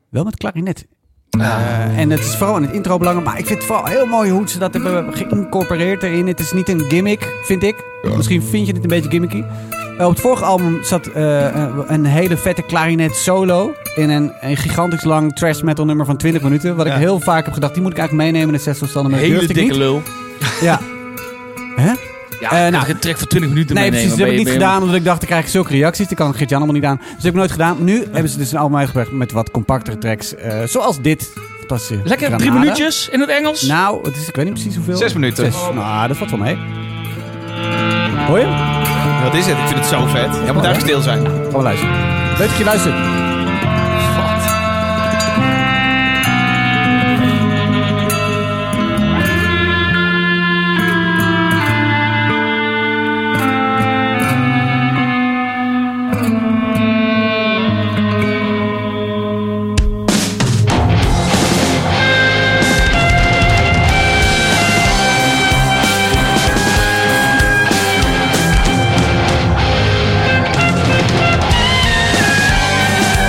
Speaker 1: wel met klarinet. Eh, en het is vooral in het intro belangrijk, maar ik vind het vooral heel mooi hoe ze dat hebben geïncorporeerd erin. Het is niet een gimmick, vind ik. Misschien vind je het een beetje gimmicky. Eh, op het vorige album zat eh, eh, een hele vette klarinet solo in een, een gigantisch lang thrash metal nummer van 20 minuten. Wat
Speaker 2: Ja.
Speaker 1: ik heel vaak heb gedacht, die moet ik eigenlijk meenemen in de zestelstanden, maar dat
Speaker 3: Hele
Speaker 1: durfde ik
Speaker 3: dikke
Speaker 1: niet.
Speaker 3: lul.
Speaker 1: Ja. Hè?
Speaker 3: Ja,
Speaker 1: Eh,
Speaker 3: ik
Speaker 1: nou.
Speaker 3: had een track voor 20 minuten
Speaker 1: Nee,
Speaker 3: meenemen.
Speaker 1: precies. Dat heb
Speaker 3: Ben
Speaker 1: ik
Speaker 3: je-
Speaker 1: niet
Speaker 3: ben je-
Speaker 1: gedaan, omdat ik dacht, dan krijg ik zulke reacties. Dat kan Gert-Jan allemaal niet aan. Dus dat heb ik nooit gedaan. Nu hebben ze dus een album uitgebracht met wat compactere tracks. eh, zoals dit. fantastische
Speaker 3: Lekker
Speaker 1: Granada.
Speaker 3: drie minuutjes in het Engels.
Speaker 1: Nou, het is, ik weet niet precies hoeveel.
Speaker 2: Zes minuten.
Speaker 1: Nou, dat valt wel mee. Hoor je? Gaan
Speaker 2: Wat is het? Ik vind het zo vet. Jij moet daar stil zijn.
Speaker 1: we luisteren. Leuk dat je luistert.
Speaker 6: Thank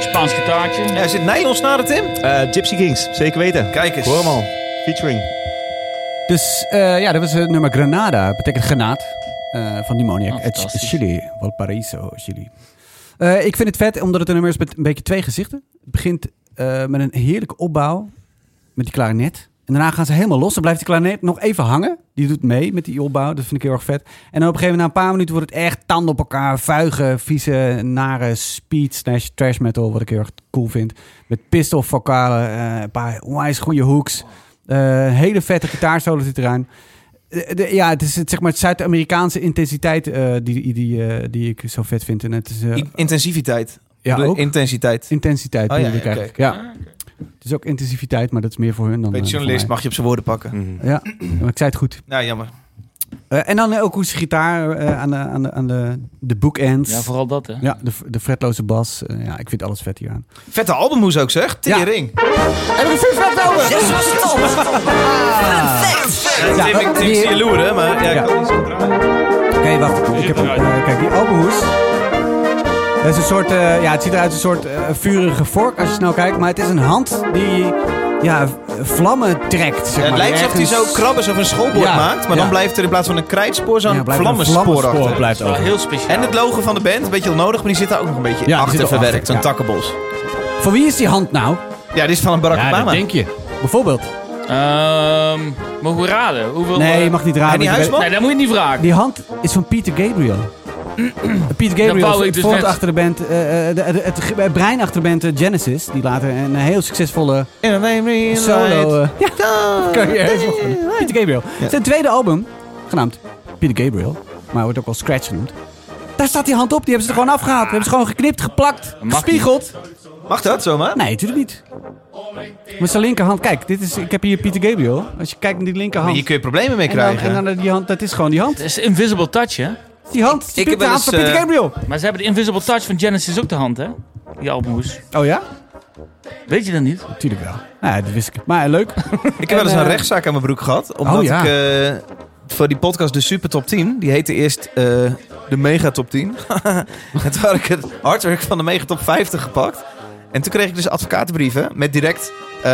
Speaker 3: Spaans gitaartje.
Speaker 2: Ja, is dit nylonsnaren, Tim?
Speaker 4: Eh, Gypsy Kings, zeker weten.
Speaker 2: Kijk eens.
Speaker 4: Hoor hem al. Featuring.
Speaker 1: Dus eh, ja, dat was het nummer Granada. betekent granaat. eh, van Demoniac.
Speaker 3: Oh,
Speaker 1: uit
Speaker 3: fantastisch.
Speaker 1: Chili. Valparaiso, Chili. Eh, ik vind het vet, omdat het een nummer is met een beetje twee gezichten. Het begint eh, met een heerlijke opbouw. Met die klarinet. En daarna gaan ze helemaal los. Dan blijft die klarinet nog even hangen. Die doet mee met die opbouw. Dat vind ik heel erg vet. En dan op een gegeven moment, na een paar minuten, wordt het echt tanden op elkaar. Vuige, vieze, nare speed slash trash metal. Wat ik heel erg cool vind. Met pistol vocalen. eh, een paar onwijs goede hooks. Eh, hele vette gitaarsolo zit eraan. Eh, de- ja, het is het, zeg maar het Zuid-Amerikaanse intensiteit eh, die, die, eh, die ik zo vet vind. En het is eh,
Speaker 2: I- Intensiviteit.
Speaker 1: ja,
Speaker 2: De
Speaker 1: ook
Speaker 2: Intensiteit.
Speaker 1: intensiteit.
Speaker 2: Oh, ja,
Speaker 1: bedoel ik
Speaker 2: ja, oké.
Speaker 1: eigenlijk. Ja. Het is ook intensiviteit, maar dat is meer voor hun dan
Speaker 2: Beetje
Speaker 1: eh, voor
Speaker 2: journalist,
Speaker 1: mij.
Speaker 2: mag je op zijn woorden pakken.
Speaker 1: Ja, maar ik zei het goed.
Speaker 2: Nou, jammer.
Speaker 1: Eh, en dan eh, ook hoe ze gitaar eh, aan, de, aan, de, aan de, de bookends.
Speaker 3: Ja, vooral dat hè.
Speaker 1: Ja, de, de fretloze bas. Eh, ja, ik vind alles vet hier aan.
Speaker 2: Vette albumhoes ook, zeg. Tering.
Speaker 6: Dit was het al.
Speaker 2: Ja, Tim, ik, ik zie je loeren, maar... Ja, ik
Speaker 1: Ja.
Speaker 2: kan niet zo draaien.
Speaker 1: Oké, wacht. Ik heb, eh, kijk, die alpenhoes. Dat is een soort, eh, ja, het ziet eruit als een soort eh, vurige vork als je snel kijkt. Maar het is een hand die ja, v- vlammen trekt. Zeg maar.
Speaker 2: Het lijkt
Speaker 1: Die
Speaker 2: alsof hij zo
Speaker 1: ergens-
Speaker 2: krabbers of een schoolbord
Speaker 1: Ja,
Speaker 2: maakt. Maar
Speaker 1: ja.
Speaker 2: dan blijft er in plaats van een krijtspoor zo'n
Speaker 1: Ja, blijft een
Speaker 2: vlammenspoor
Speaker 1: vlammenspoor
Speaker 2: achter.
Speaker 1: blijft
Speaker 3: Wel
Speaker 1: over.
Speaker 3: heel speciaal.
Speaker 2: En het logo van de band, een beetje onnodig, maar die zit daar ook nog een beetje
Speaker 1: Ja, die zit
Speaker 2: achter
Speaker 1: er
Speaker 2: verwerkt.
Speaker 1: achter,
Speaker 2: Zo'n
Speaker 1: ja.
Speaker 2: takkenbos.
Speaker 1: Van wie is die hand nou?
Speaker 2: Ja, dit is van een Barack Obama.
Speaker 1: je. Bijvoorbeeld.
Speaker 3: Ehm, mogen we raden? Hoeveel,
Speaker 1: Nee,
Speaker 3: eh,
Speaker 1: je mag niet raden.
Speaker 2: Henny
Speaker 1: want je
Speaker 2: Huisman?
Speaker 1: weet-
Speaker 3: Nee, dat moet je niet vragen.
Speaker 1: Die hand is van Peter Gabriel. Peter
Speaker 3: wou
Speaker 1: Gabriel
Speaker 3: ik dus
Speaker 1: vond
Speaker 3: net-
Speaker 1: achter de band, eh, eh, de- de- het ge- het brein achter de band eh, Genesis, die later een heel succesvolle
Speaker 2: In a name in
Speaker 1: solo eh, ja,
Speaker 2: light.
Speaker 1: carrière heeft. Peter Gabriel. Zijn tweede album, genaamd Peter Gabriel, maar wordt ook wel Scratch genoemd. Daar staat die hand op, die hebben ze er gewoon afgehaald. Die hebben ze gewoon geknipt, geplakt,
Speaker 3: niet.
Speaker 1: gespiegeld.
Speaker 2: Mag dat zomaar?
Speaker 1: Nee, natuurlijk niet. Met zijn linkerhand, kijk, dit is, ik heb hier Peter Gabriel. Als je kijkt naar die linkerhand.
Speaker 2: Hier kun je problemen mee
Speaker 1: en dan,
Speaker 2: krijgen.
Speaker 1: en dan die hand, dat is gewoon die hand.
Speaker 3: Het is Invisible Touch, hè?
Speaker 1: Die hand, die
Speaker 2: Ik heb
Speaker 1: Peter,
Speaker 2: wel
Speaker 1: hand van
Speaker 2: eens,
Speaker 1: Peter
Speaker 2: eh,
Speaker 1: Gabriel.
Speaker 3: Maar ze hebben de Invisible Touch van Genesis ook de hand, hè? Die albumhoes.
Speaker 1: Oh ja?
Speaker 3: Weet je dat niet?
Speaker 1: Tuurlijk wel. Nou, ja, dat wist ik. Maar leuk.
Speaker 2: Ik heb wel eens
Speaker 1: En,
Speaker 2: een
Speaker 1: eh,
Speaker 2: rechtszaak aan mijn broek gehad. Omdat
Speaker 1: ja.
Speaker 2: ik eh, voor die podcast de Super Top 10, die heette eerst eh, de Mega Top 10. en toen had ik het hardwerk van de Mega Top 50 gepakt. En toen kreeg ik dus advocatenbrieven met direct... eh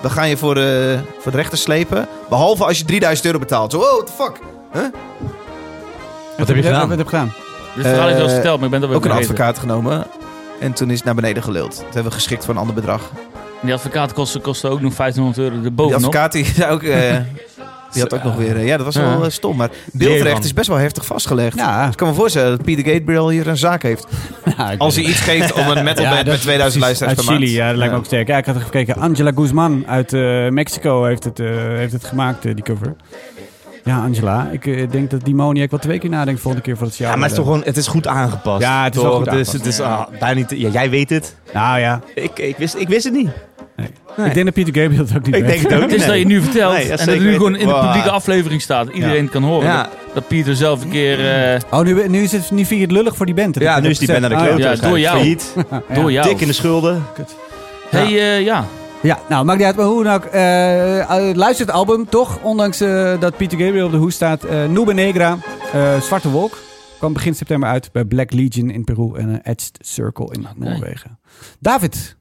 Speaker 2: we gaan je voor, eh, voor de rechter slepen. Behalve als je 3000 euro betaalt. Zo, oh, what the fuck?
Speaker 1: Wat
Speaker 4: heb je gedaan?
Speaker 1: Wat heb ik gedaan?
Speaker 3: Dit verhaal is wel
Speaker 1: Eh,
Speaker 3: eens verteld, maar ik ben dat weer
Speaker 2: Ook een
Speaker 3: vergeten.
Speaker 2: advocaat genomen. En toen is het naar beneden geluld. Toen hebben we geschikt voor een ander bedrag.
Speaker 3: En Die advocaat kostte, kostte ook nog 1500 euro
Speaker 2: Die
Speaker 3: erbovenop.
Speaker 2: advocaat die, zei ook, eh, die had ook nog weer... eh, ja, dat was wel eh, stom. Maar beeldrecht is best wel heftig vastgelegd.
Speaker 1: Ja.
Speaker 2: Ik kan me voorstellen dat Peter Gabriel hier een zaak heeft. Als hij iets geeft om een metalband met 2000 luisteraars
Speaker 1: uit
Speaker 2: per maand.
Speaker 1: Chili, ja, dat lijkt me ook sterk. Ja, ik had even gekeken. Angela Guzman uit eh, Mexico heeft het, eh, heeft het gemaakt, eh, die cover. Ja, Angela. Ik eh, denk dat Demoniac wel twee keer nadenkt volgende keer voor het jaar.
Speaker 4: Ja, maar het is toch gewoon, het is goed aangepast.
Speaker 1: Ja, het is wel
Speaker 4: Toch?
Speaker 1: goed
Speaker 4: Dus
Speaker 1: aangepast.
Speaker 4: het is ah, bijna niet, ja, jij weet het.
Speaker 1: Nou ja,
Speaker 4: Ik, ik, wist, ik wist het niet. Nee.
Speaker 1: ik denk dat Peter Gabriel het ook niet
Speaker 4: Ik denk
Speaker 1: weet.
Speaker 4: het ook
Speaker 3: Het is
Speaker 4: niet.
Speaker 3: dat je nu vertelt
Speaker 4: Nee, dat
Speaker 3: en dat
Speaker 4: zeker
Speaker 3: het nu gewoon in de
Speaker 4: weten.
Speaker 3: publieke
Speaker 4: Wow.
Speaker 3: aflevering staat. Iedereen het kan horen.
Speaker 4: Ja.
Speaker 3: Dat, dat Pieter zelf een keer eh,
Speaker 1: Oh, nu, nu, is het, nu vind je het lullig voor die band. dat
Speaker 4: Ja,
Speaker 1: ik
Speaker 4: nu
Speaker 1: dat
Speaker 4: is die
Speaker 1: heb
Speaker 4: ben naar de
Speaker 1: gezegd.
Speaker 4: klote.
Speaker 1: Ah,
Speaker 3: ja,
Speaker 4: waarschijnlijk.
Speaker 3: door jou.
Speaker 4: Failliet.
Speaker 3: door jou...
Speaker 4: Dik in de schulden.
Speaker 3: hey, eh, ja.
Speaker 1: ja. ja, nou, maakt niet uit. Maar hoe dan ook. eh, eh, luister het album, toch? Ondanks eh, dat Peter Gabriel op de hoes staat. eh Nube Negra, eh, Zwarte Wolk. Kwam begin september uit bij Black Legion in Peru en eh, Edged Circle in Noorwegen. David,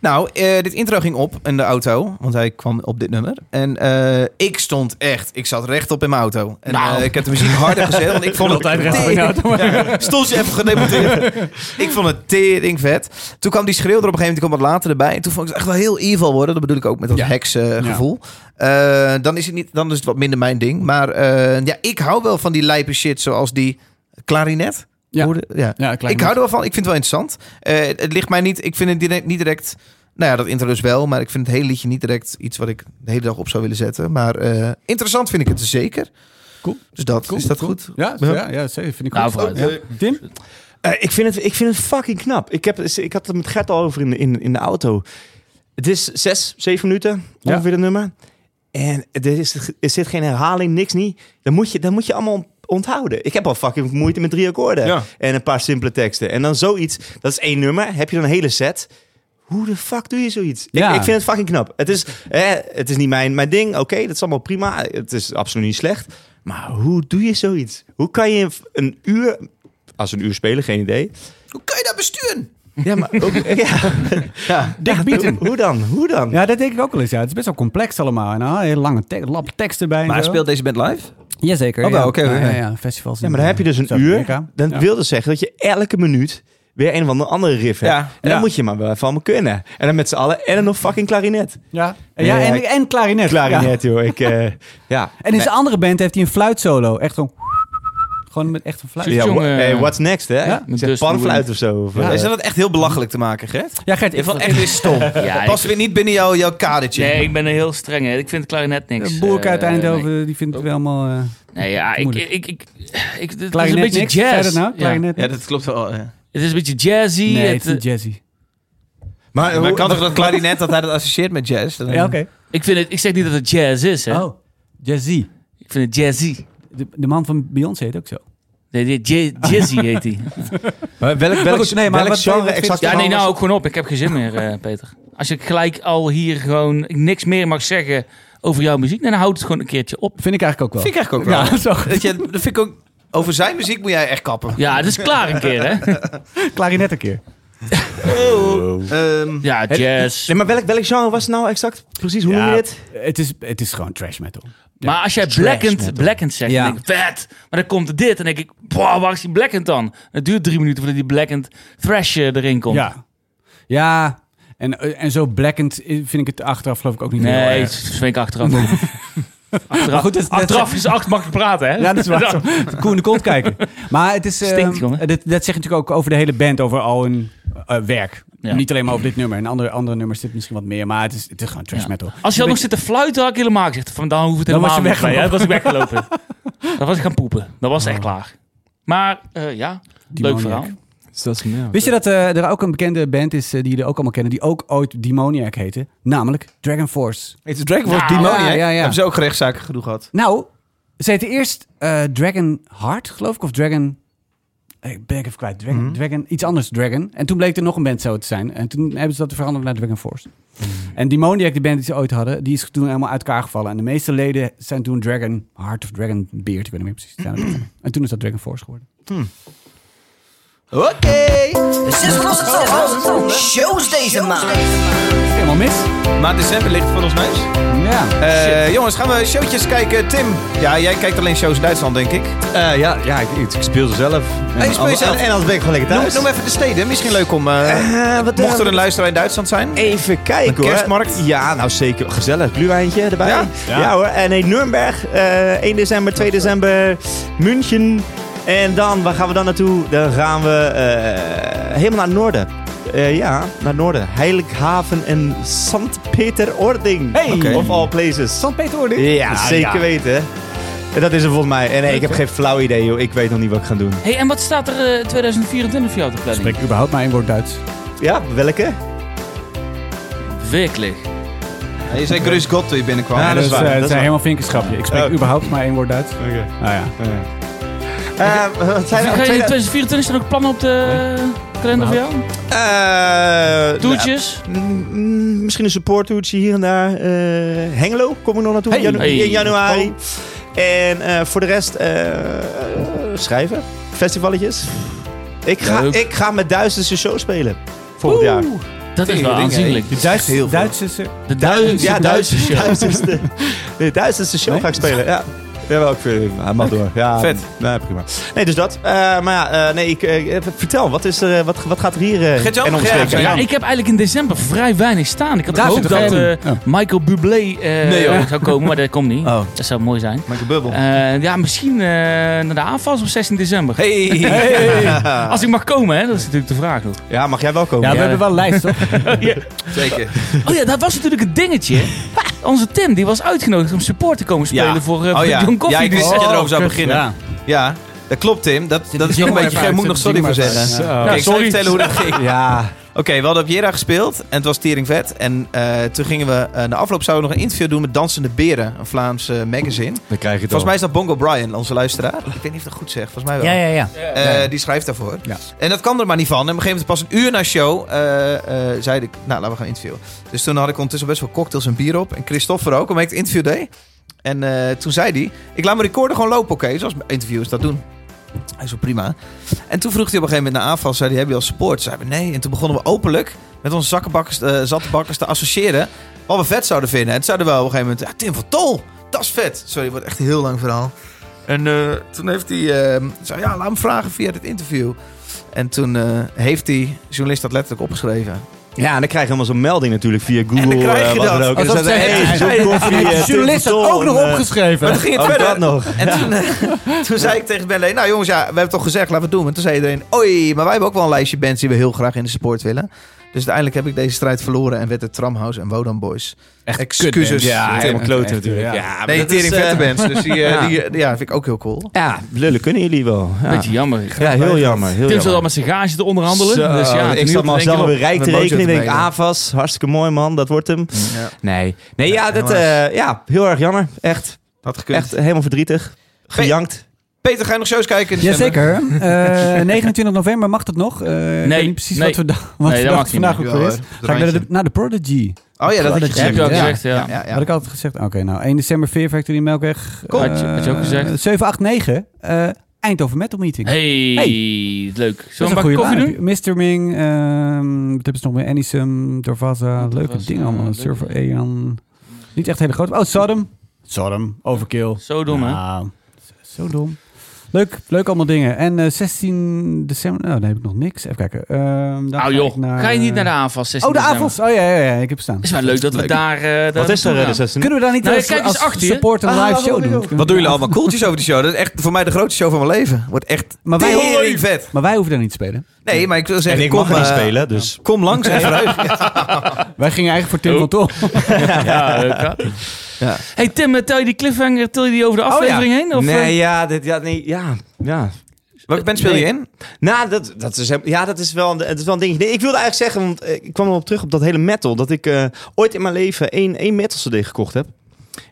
Speaker 2: Nou, eh, dit intro ging op in de auto, want hij kwam op dit nummer. En eh, ik stond echt, ik zat rechtop in mijn auto. En
Speaker 3: Nou.
Speaker 2: eh, ik heb de muziek harder gezet, want ik vond het...
Speaker 1: altijd rechtop in je auto,
Speaker 2: Ja, stoeltje even gedemonteerd. ik vond het tering vet. Toen kwam die schreeuw er op een gegeven moment, die kwam wat later erbij. En toen vond ik het echt wel heel evil worden. Dat bedoel ik ook met dat
Speaker 1: Ja.
Speaker 2: heksengevoel. Eh, dan, is het niet, dan is het wat minder mijn ding. Maar eh, ja, ik hou wel van die lijpe shit zoals die klarinet.
Speaker 1: Ja.
Speaker 2: Hoorde- ja.
Speaker 1: Ja,
Speaker 2: Ik hou er wel van. Ik vind het wel interessant. Eh, het- het ligt mij niet. Ik vind het direct, niet direct. Nou ja, dat intro dus wel. Maar ik vind het hele liedje niet direct iets wat ik de hele dag op zou willen zetten. Maar eh, interessant vind ik het zeker.
Speaker 1: Cool.
Speaker 2: Dus dat is dat goed.
Speaker 1: Ja,
Speaker 2: Ja.
Speaker 1: ja, ja zeker. Vind ik
Speaker 3: Nou,
Speaker 1: goed.
Speaker 3: vooruit.
Speaker 1: Ja. Tim?
Speaker 4: Eh, ik, vind het, ik vind het fucking knap. Ik, heb, ik had het met Gert al over in de, in, in de auto. Het is zes, zeven minuten,
Speaker 1: Ja.
Speaker 4: ongeveer het nummer. En er, is, er zit geen herhaling, niks niet. Dan moet je, dan moet je allemaal onthouden. Ik heb al fucking moeite met drie akkoorden.
Speaker 2: Ja.
Speaker 4: En een paar simpele teksten. En dan zoiets, dat is één nummer. Heb je dan een hele set. Hoe de fuck doe je zoiets?
Speaker 1: Ja.
Speaker 4: Ik, ik vind het fucking knap. Het is, eh, het is niet mijn, mijn ding. Oké, dat is allemaal prima. Het is absoluut niet slecht. Maar hoe doe je zoiets? Hoe kan je een uur als een uur spelen, geen idee.
Speaker 2: Hoe kan je dat besturen?
Speaker 4: Ja, maar ook, ja. ja.
Speaker 1: Dick Beaton.
Speaker 4: Hoe, hoe dan? Hoe dan?
Speaker 1: Ja, dat denk ik ook wel eens. Ja. Het is best wel complex allemaal. En ah, heel lange te lap tekst erbij. en
Speaker 2: Maar
Speaker 1: zo.
Speaker 2: speelt deze band live?
Speaker 1: Jazeker.
Speaker 2: Oh,
Speaker 1: ja.
Speaker 2: wel, oké,
Speaker 1: ja,
Speaker 2: oké.
Speaker 1: ja, ja, festivals.
Speaker 4: Ja,
Speaker 1: in,
Speaker 4: maar dan heb je dus een
Speaker 1: eh,
Speaker 4: uur.
Speaker 1: Zuid-Amerika.
Speaker 4: Dan
Speaker 1: Ja.
Speaker 4: wil dat zeggen dat je elke minuut weer een of andere- andere riff hebt.
Speaker 2: Ja,
Speaker 4: en
Speaker 2: ja.
Speaker 4: dan moet je maar wel van me kunnen. En dan met z'n allen en dan nog fucking klarinet.
Speaker 1: Ja, ja
Speaker 4: Nee,
Speaker 1: en,
Speaker 4: hij-
Speaker 1: en klarinet. Ja.
Speaker 4: Klarinet, joh. Ik, eh, ja.
Speaker 1: En in zijn andere band heeft hij een fluitsolo. Echt gewoon... Gewoon met echt een fluit.
Speaker 4: Ja,
Speaker 3: jongen.
Speaker 4: wha- hey, what's next, hè?
Speaker 1: Ja,
Speaker 4: Ik
Speaker 3: met
Speaker 4: zeg
Speaker 3: Dustin
Speaker 4: panfluit of zo. Of, eh,
Speaker 2: Is dat echt heel belachelijk te maken, Gert?
Speaker 1: Ja, Gert,
Speaker 2: Ik
Speaker 1: ik
Speaker 2: vond het echt weer stom.
Speaker 3: Ja,
Speaker 2: Past weer niet binnen jouw, jouw kadertje.
Speaker 3: Nee, ik ben er heel streng in. Ik vind klarinet niks.
Speaker 1: De boerk uit
Speaker 3: Eh,
Speaker 1: Eindhoven, die vindt het wel allemaal... eh,
Speaker 3: Nee, nee ja, ik... ik,
Speaker 1: Moeilijk.
Speaker 3: ik, ik, ik- het is een
Speaker 1: klarinet
Speaker 3: beetje
Speaker 1: niks. Zei
Speaker 3: jazz.
Speaker 1: dat nou?
Speaker 3: Ja.
Speaker 1: Klarinet
Speaker 2: Ja,
Speaker 1: niks?
Speaker 2: dat klopt wel. ja.
Speaker 3: Het is een beetje jazzy.
Speaker 1: Nee,
Speaker 3: het,
Speaker 1: het is niet jazzy.
Speaker 4: maar,
Speaker 2: Maar
Speaker 4: hoe-
Speaker 2: kan toch dat klarinet dat hij dat associeert met jazz? Dan-
Speaker 1: Ja, oké.
Speaker 3: ik, vind het, ik zeg niet dat het jazz is, hè.
Speaker 1: Oh, jazzy.
Speaker 3: Ik vind het jazzy.
Speaker 1: De, de man van Beyoncé heet ook zo.
Speaker 3: Nee, die- ja- jazzy heet hij.
Speaker 4: maar welk, welk,
Speaker 1: Maar goed, nee, maar
Speaker 4: welk
Speaker 1: wat- wat
Speaker 4: genre
Speaker 1: vind-
Speaker 4: exact?
Speaker 3: Ja,
Speaker 4: dan
Speaker 3: nee,
Speaker 4: was-
Speaker 3: nou ook gewoon op. Ik heb geen zin meer, eh, Peter. Als ik gelijk al hier gewoon niks meer mag zeggen over jouw muziek, nee, dan houdt het gewoon een keertje op.
Speaker 1: Vind ik eigenlijk ook wel.
Speaker 2: Vind ik eigenlijk ook wel.
Speaker 1: Ja, zo.
Speaker 2: Dat, je, dat vind ik ook... Over zijn muziek moet jij echt kappen.
Speaker 3: Ja, het is klaar een keer, hè?
Speaker 1: Klarinet een keer.
Speaker 2: Ehm,
Speaker 3: Ja, jazz.
Speaker 4: Nee, maar welk, welk genre was het nou exact? Precies, hoe noem je dit?
Speaker 1: Het is, het is gewoon trash metal.
Speaker 3: Maar als jij blackend, blackend zegt,
Speaker 1: Ja.
Speaker 3: dan denk ik, vet. Maar dan komt dit en dan denk ik, boah, waar is die blackend dan? Het duurt drie minuten voordat die blackend thrash eh, erin komt.
Speaker 1: Ja. Ja. En, eh, en zo blackend vind ik het achteraf geloof ik ook niet meer heel
Speaker 3: Nee,
Speaker 1: erg.
Speaker 3: dat vind ik achteraf. achteraf,
Speaker 1: goed, het is net
Speaker 3: achteraf is acht mag je praten, hè?
Speaker 1: Ja, dat is waar. Koen de kont kijken. Maar het is... eh,
Speaker 3: Stinkt, jongen.
Speaker 1: dat, dat zegt natuurlijk ook over de hele band, over al hun eh, werk.
Speaker 3: Ja.
Speaker 1: Niet alleen maar over dit nummer. En andere, andere nummers zit misschien wat meer. Maar het is, het is gewoon trash
Speaker 3: Ja.
Speaker 1: metal.
Speaker 3: Als je dan nog zit te fluiten, had ik helemaal gezegd, van dan hoef het
Speaker 1: Dan was
Speaker 3: helemaal
Speaker 1: je
Speaker 3: niet bij, hè? Dan was ik weggelopen. dan was ik gaan poepen. Dan was het echt klaar. Maar eh, ja, leuk
Speaker 1: Demoniac.
Speaker 3: verhaal.
Speaker 2: Dus
Speaker 1: Wist je dat eh, er ook een bekende band is eh, die jullie ook allemaal kennen, die ook ooit Demoniac heette? Namelijk Dragon Force.
Speaker 2: Het is Dragon Force
Speaker 3: Nou,
Speaker 2: Demoniac.
Speaker 1: ja, ja, ja.
Speaker 2: Hebben ze ook rechtszaken genoeg gehad?
Speaker 1: Nou, ze heette eerst eh, Dragon Heart, geloof ik, of Dragon... Ik ben ik even kwijt. Dragon,
Speaker 4: Mhm.
Speaker 1: Dragon, iets anders Dragon. En toen bleek er nog een band zo te zijn. En toen hebben ze dat veranderd naar Dragon Force.
Speaker 4: Mhm.
Speaker 1: En Demoniac, die band die ze ooit hadden, die is toen helemaal uit elkaar gevallen. En de meeste leden zijn toen Dragon Heart of Dragon Beard, ik weet niet meer precies. hoe ze zijn. En toen is dat Dragon Force geworden.
Speaker 2: Oké.
Speaker 7: Shows deze maand.
Speaker 1: Helemaal mis.
Speaker 2: Maar december ligt voor ons neus.
Speaker 1: Ja.
Speaker 2: Eh, jongens, gaan we showtjes kijken. Tim, ja, jij kijkt alleen shows in Duitsland, denk ik.
Speaker 4: Eh, ja, ja ik, ik speel ze zelf. En,
Speaker 2: je speelt
Speaker 4: al-
Speaker 2: zelf?
Speaker 4: en anders ben ik gewoon lekker
Speaker 2: Noem,
Speaker 4: thuis.
Speaker 2: noem even de steden. Misschien leuk om... eh,
Speaker 4: Eh, wat, eh,
Speaker 2: mocht er een luisteraar in Duitsland zijn.
Speaker 4: Even kijken
Speaker 2: Een
Speaker 4: hoor.
Speaker 2: kerstmarkt?
Speaker 4: Ja, nou zeker. Gezellig. Bluewijntje erbij.
Speaker 2: Ja?
Speaker 4: Ja, hoor. En nee, Nuremberg. eh 1 december, 2 december. München. En dan, waar gaan we dan naartoe? Dan gaan we eh, helemaal naar het noorden. Eh, ja, naar het noorden. Heilighaven en St. Peter-Ording.
Speaker 1: Hey! Oké.
Speaker 4: Of all places.
Speaker 1: Peter hoorde
Speaker 4: ja, zeker weten. En dat is er volgens mij. En nee, ik heb geen flauw idee, joh. Ik weet nog niet wat ik ga doen.
Speaker 3: hey, en wat staat er eh, 2024 voor jou op de planning?
Speaker 1: Spreek überhaupt maar één woord Duits.
Speaker 4: Ja, welke?
Speaker 3: Werkelijk.
Speaker 2: Ja, je zei Grüß Gott toen je binnenkwam.
Speaker 4: Ja, dat is
Speaker 1: Dus,
Speaker 4: waar.
Speaker 1: eh,
Speaker 4: dat
Speaker 1: het zijn
Speaker 4: is waar.
Speaker 1: helemaal vinkenschapje. Ik spreek
Speaker 4: Oké.
Speaker 1: überhaupt maar één woord Duits. Nou
Speaker 4: Oké.
Speaker 1: ja.
Speaker 4: Eh, wat zijn
Speaker 3: Ga je
Speaker 4: er?
Speaker 3: in
Speaker 4: tweede-
Speaker 3: 2024 staan ook plannen op de kalender voor jou?
Speaker 4: Eh,
Speaker 3: Toertjes?
Speaker 4: Mm, mm, misschien een supporttoertje hier en daar. Eh, Hengelo kom ik nog naartoe in janu-
Speaker 3: Hey.
Speaker 4: in januari. En eh, voor de rest eh, schrijven, festivaletjes. Ik ga,
Speaker 3: Leuk.
Speaker 4: ik ga met duizendste show spelen volgend jaar.
Speaker 3: Dat is wel
Speaker 2: Dingen,
Speaker 3: aanzienlijk.
Speaker 2: hey. Duits heel veel.
Speaker 1: Duits eh, is er.
Speaker 3: De duizend,
Speaker 4: Ja,
Speaker 3: duizend
Speaker 4: duizend-
Speaker 3: show.
Speaker 4: duizendste, nee, duizendste show ga ik spelen. Ja. Ja, wel, ik vind, hij mag door. Ja,
Speaker 2: Vet.
Speaker 4: Nee, prima. Nee, dus dat. Eh, maar ja, eh, nee, ik, eh, vertel, wat, is er, eh, wat, wat gaat er hier eh,
Speaker 2: Gert-Jan?
Speaker 4: en
Speaker 2: Ja,
Speaker 4: omstreken?
Speaker 2: ja,
Speaker 3: Ja, ik heb eigenlijk in december vrij weinig staan. Ik had
Speaker 1: Daar
Speaker 3: gehoopt
Speaker 1: zit het
Speaker 3: dat
Speaker 1: geheim.
Speaker 3: eh, Michael Bublé eh,
Speaker 2: joh.
Speaker 3: zou komen, maar dat komt niet.
Speaker 2: Oh.
Speaker 3: Dat zou mooi zijn.
Speaker 2: Michael Bubbel.
Speaker 3: Eh, ja, misschien eh, naar de aanvals op 16 december.
Speaker 2: Hey.
Speaker 3: Als ik mag komen, hè? dat is natuurlijk de vraag nog.
Speaker 4: Ja, mag jij wel komen?
Speaker 1: Ja, we
Speaker 3: Ja.
Speaker 1: hebben wel een lijst, toch?
Speaker 2: Zeker.
Speaker 3: Oh ja, dat was natuurlijk het dingetje. Onze Tim die was uitgenodigd om support te komen spelen
Speaker 2: Ja.
Speaker 3: voor, eh,
Speaker 2: Oh
Speaker 3: voor
Speaker 2: ja.
Speaker 3: John Oh,
Speaker 2: Ja,
Speaker 3: Coffee.
Speaker 2: ik wist dat je erover zou
Speaker 1: kut.
Speaker 2: beginnen. Ja.
Speaker 1: Ja.
Speaker 2: dat klopt Tim. Dat, dat is nog
Speaker 1: zing
Speaker 2: een
Speaker 1: maar
Speaker 2: beetje...
Speaker 1: even
Speaker 2: Je
Speaker 1: uit,
Speaker 2: moet nog
Speaker 1: zing
Speaker 2: sorry voor
Speaker 1: maar even
Speaker 2: zeggen.
Speaker 1: uit.
Speaker 2: Oké, ik zal je
Speaker 3: sorry.
Speaker 2: vertellen hoe dat ging.
Speaker 4: Ja.
Speaker 2: Oké, we hadden op Jera gespeeld en het was tering vet. En eh, toen gingen we, eh, na afloop zouden we nog een interview doen met Dansende Beren, een Vlaams eh, magazine.
Speaker 4: Dan krijg je het
Speaker 2: Volgens mij is dat Bongo Brian, onze luisteraar. Ik weet niet of ik dat goed zeg, volgens mij wel.
Speaker 1: ja.
Speaker 2: Eh, die schrijft daarvoor.
Speaker 1: Ja.
Speaker 2: En dat kan er maar niet van. En op een gegeven moment, pas een uur na show, eh, eh, zei ik, nou, laten we gaan interviewen. Dus toen had ik ondertussen best wel cocktails en bier op. En Christopher ook, omdat ik het interview deed. En eh, toen zei hij, ik laat mijn recorder gewoon lopen, oké? Zoals interviewers dat doen. Hij is wel prima. En toen vroeg hij op een gegeven moment naar aanval. Zei hij, heb je al support? Zeiden we nee. En toen begonnen we openlijk met onze zakkenbakkers, eh, zattenbakkers te associëren. Wat we vet zouden vinden. En toen zeiden we op een gegeven moment, ja, Tim van Tol, dat is vet. Sorry, het wordt echt een heel lang verhaal. En eh, toen heeft hij, eh, zei ja, laat hem vragen via dit interview. En toen eh, heeft die journalist dat letterlijk opgeschreven.
Speaker 4: Ja, en dan krijg je helemaal zo'n melding natuurlijk via Google.
Speaker 2: dan krijg je
Speaker 4: eh, wat
Speaker 2: dat.
Speaker 4: dan ook. En
Speaker 1: Alsof
Speaker 4: dan staat er,
Speaker 1: zij-
Speaker 4: hey,
Speaker 1: hij-
Speaker 4: zo'n
Speaker 1: hij-
Speaker 4: koffie,
Speaker 1: hij-
Speaker 4: eh,
Speaker 1: de journalist had
Speaker 4: Tim van
Speaker 1: ook nog
Speaker 4: Tol en, eh,
Speaker 1: opgeschreven.
Speaker 2: Maar toen ging het
Speaker 4: Ook
Speaker 2: verder.
Speaker 4: dat nog.
Speaker 2: En toen, eh, toen zei ik tegen Benley, nou jongens, ja, we hebben het toch gezegd, laten we het doen. En toen zei iedereen, oei, maar wij hebben ook wel een lijstje bands die we heel graag in de support willen. Dus uiteindelijk heb ik deze strijd verloren en werd het Tramhouse en Wodan Boys. Echt excuses.
Speaker 4: Ja, helemaal kloten natuurlijk. Ja, maar
Speaker 2: nee,
Speaker 4: dat
Speaker 2: tering
Speaker 4: is, eh,
Speaker 2: vette bands. Dus die, eh,
Speaker 4: ja.
Speaker 2: die, eh, ja, vind ik ook heel cool.
Speaker 4: Ja, lullen kunnen jullie wel. Ja,
Speaker 3: Beetje jammer.
Speaker 4: ja heel jammer. Heel
Speaker 3: Tim zat al
Speaker 4: jammer.
Speaker 3: met zijn gage te onderhandelen.
Speaker 4: Zo,
Speaker 3: dus ja,
Speaker 4: ik zat maar zelf weer rijk te
Speaker 2: mijn
Speaker 4: rekenen. Ik
Speaker 2: bootje
Speaker 4: denk,
Speaker 2: te mailen.
Speaker 4: AFAS, hartstikke mooi man, dat wordt hem.
Speaker 2: Ja,
Speaker 4: Nee, nee ja, dat,
Speaker 2: helaas.
Speaker 4: eh, ja, heel erg jammer. Echt,
Speaker 2: had gekund.
Speaker 4: echt helemaal verdrietig. Gejankt.
Speaker 2: Peter, ga je nog shows kijken? in december?
Speaker 1: Jazeker. Eh 29 november mag dat nog. Eh, ik weet niet precies
Speaker 3: nee.
Speaker 1: wat, we da- wat
Speaker 3: Nee,
Speaker 1: de
Speaker 3: dat
Speaker 1: dag
Speaker 3: mag niet
Speaker 1: vandaag
Speaker 2: meer.
Speaker 1: ook weer is.
Speaker 2: Ja, hoor,
Speaker 1: Ga ik naar de,
Speaker 2: drankje.
Speaker 1: naar de Prodigy.
Speaker 2: Oh ja, dat had je
Speaker 1: Dat heb
Speaker 3: heb
Speaker 2: gezegd.
Speaker 3: je al
Speaker 1: Ja.
Speaker 3: gezegd, ja.
Speaker 2: Ja, ja, ja.
Speaker 1: Had ik altijd gezegd. Oké, nou 1 december Fear Factory Melkweg.
Speaker 3: Cool. Had je- had je
Speaker 1: Eh,
Speaker 3: ook gezegd.
Speaker 1: 7, 8, 9. eh, Eindhoven Metal Meeting.
Speaker 3: Hey, leuk.
Speaker 1: Dat
Speaker 3: Zullen
Speaker 1: is
Speaker 3: we
Speaker 1: een
Speaker 3: een bak
Speaker 1: goede
Speaker 3: koffie
Speaker 1: line-up.
Speaker 3: doen?
Speaker 1: Mr. Ming, ehm, wat hebben ze nog meer? Anisum, Dorvaza, leuke
Speaker 3: Dorvaza,
Speaker 1: dingen allemaal.
Speaker 3: leuke
Speaker 1: Surfer
Speaker 3: dingen.
Speaker 1: Aeon. Niet echt hele grote. Oh, Sodom. Sodom, Overkill.
Speaker 3: Zo dom, hè?
Speaker 1: Nou, Zo dom. Leuk, leuk allemaal dingen. En eh, 16 december, nou, daar heb ik nog niks. Even kijken. Ehm dan
Speaker 3: Nou
Speaker 1: ik
Speaker 3: joh, ga je niet naar de aanval? 16
Speaker 1: Oh, de
Speaker 3: december?
Speaker 1: avonds. Oh ja, ja, ja, ik heb staan.
Speaker 3: Is wel leuk dat we daar... eh, daar
Speaker 4: Wat is
Speaker 3: naartoe
Speaker 4: er, eh,
Speaker 3: gaan.
Speaker 4: de 16?
Speaker 1: Kunnen we daar niet
Speaker 3: Nou,
Speaker 1: als,
Speaker 3: kijk eens
Speaker 1: als
Speaker 3: achter je.
Speaker 1: support een
Speaker 2: Ah,
Speaker 1: live
Speaker 2: wat
Speaker 1: show
Speaker 2: doen
Speaker 1: doen?
Speaker 2: we? Wat doen jullie allemaal cooltjes over die show? Dat is echt voor mij de grootste show van mijn leven. Wordt echt
Speaker 1: Maar wij-
Speaker 2: tering vet.
Speaker 1: Maar wij hoeven daar niet te spelen.
Speaker 2: Nee, maar ik wil
Speaker 4: En
Speaker 2: zeggen,
Speaker 4: ik
Speaker 2: kom,
Speaker 4: mag er niet
Speaker 2: eh,
Speaker 4: spelen, dus...
Speaker 2: Kom langs en vooruit.
Speaker 1: Wij gingen eigenlijk voor Tim
Speaker 4: Oh.
Speaker 1: van Tol.
Speaker 3: Ja, leuk, ja.
Speaker 2: Ja.
Speaker 3: Hey Tim, eh, tel je die cliffhanger til je die over de aflevering heen? Of, eh?
Speaker 4: Nee, ja, dit, ja, nee, ja, ja.
Speaker 2: Welke band speel je
Speaker 4: Nee.
Speaker 2: in?
Speaker 4: Nou, dat, dat, is, hem- ja, dat, is wel, een- dat is wel een dingetje. Nee, ik wilde eigenlijk zeggen, want eh, ik kwam erop terug op dat hele metal. Dat ik eh, ooit in mijn leven één, één metal CD gekocht heb.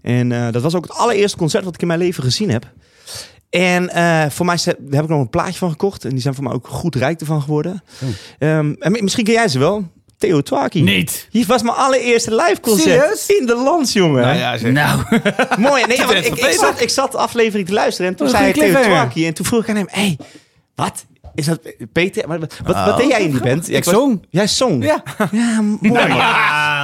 Speaker 4: En eh, dat was ook het allereerste concert wat ik in mijn leven gezien heb. En eh, voor mij is- daar heb ik nog een plaatje van gekocht. En die zijn voor mij ook goed rijk ervan geworden.
Speaker 3: Oh.
Speaker 4: Ehm, en mi- misschien ken jij ze wel. Theo Twaki.
Speaker 3: Niet.
Speaker 4: Hier was mijn allereerste live concert.
Speaker 1: Serieus?
Speaker 4: In de lands, jongen.
Speaker 3: Nou,
Speaker 4: Mooi. Nee, want
Speaker 2: echt
Speaker 4: ik, ik,
Speaker 2: vervelend.
Speaker 4: zat, ik zat de aflevering te luisteren en toen
Speaker 1: Wat
Speaker 4: zei
Speaker 1: een
Speaker 4: hij tegen
Speaker 1: cliffhanger.
Speaker 4: Twaki. En toen vroeg ik aan hem, hé, hey, wat? Is dat Peter? Maar Wat, wat,
Speaker 1: Oh.
Speaker 4: wat deed jij in die band? Ja,
Speaker 1: Ik
Speaker 4: was-
Speaker 1: zong.
Speaker 4: Jij zong?
Speaker 1: Ja.
Speaker 4: Ja, mooi.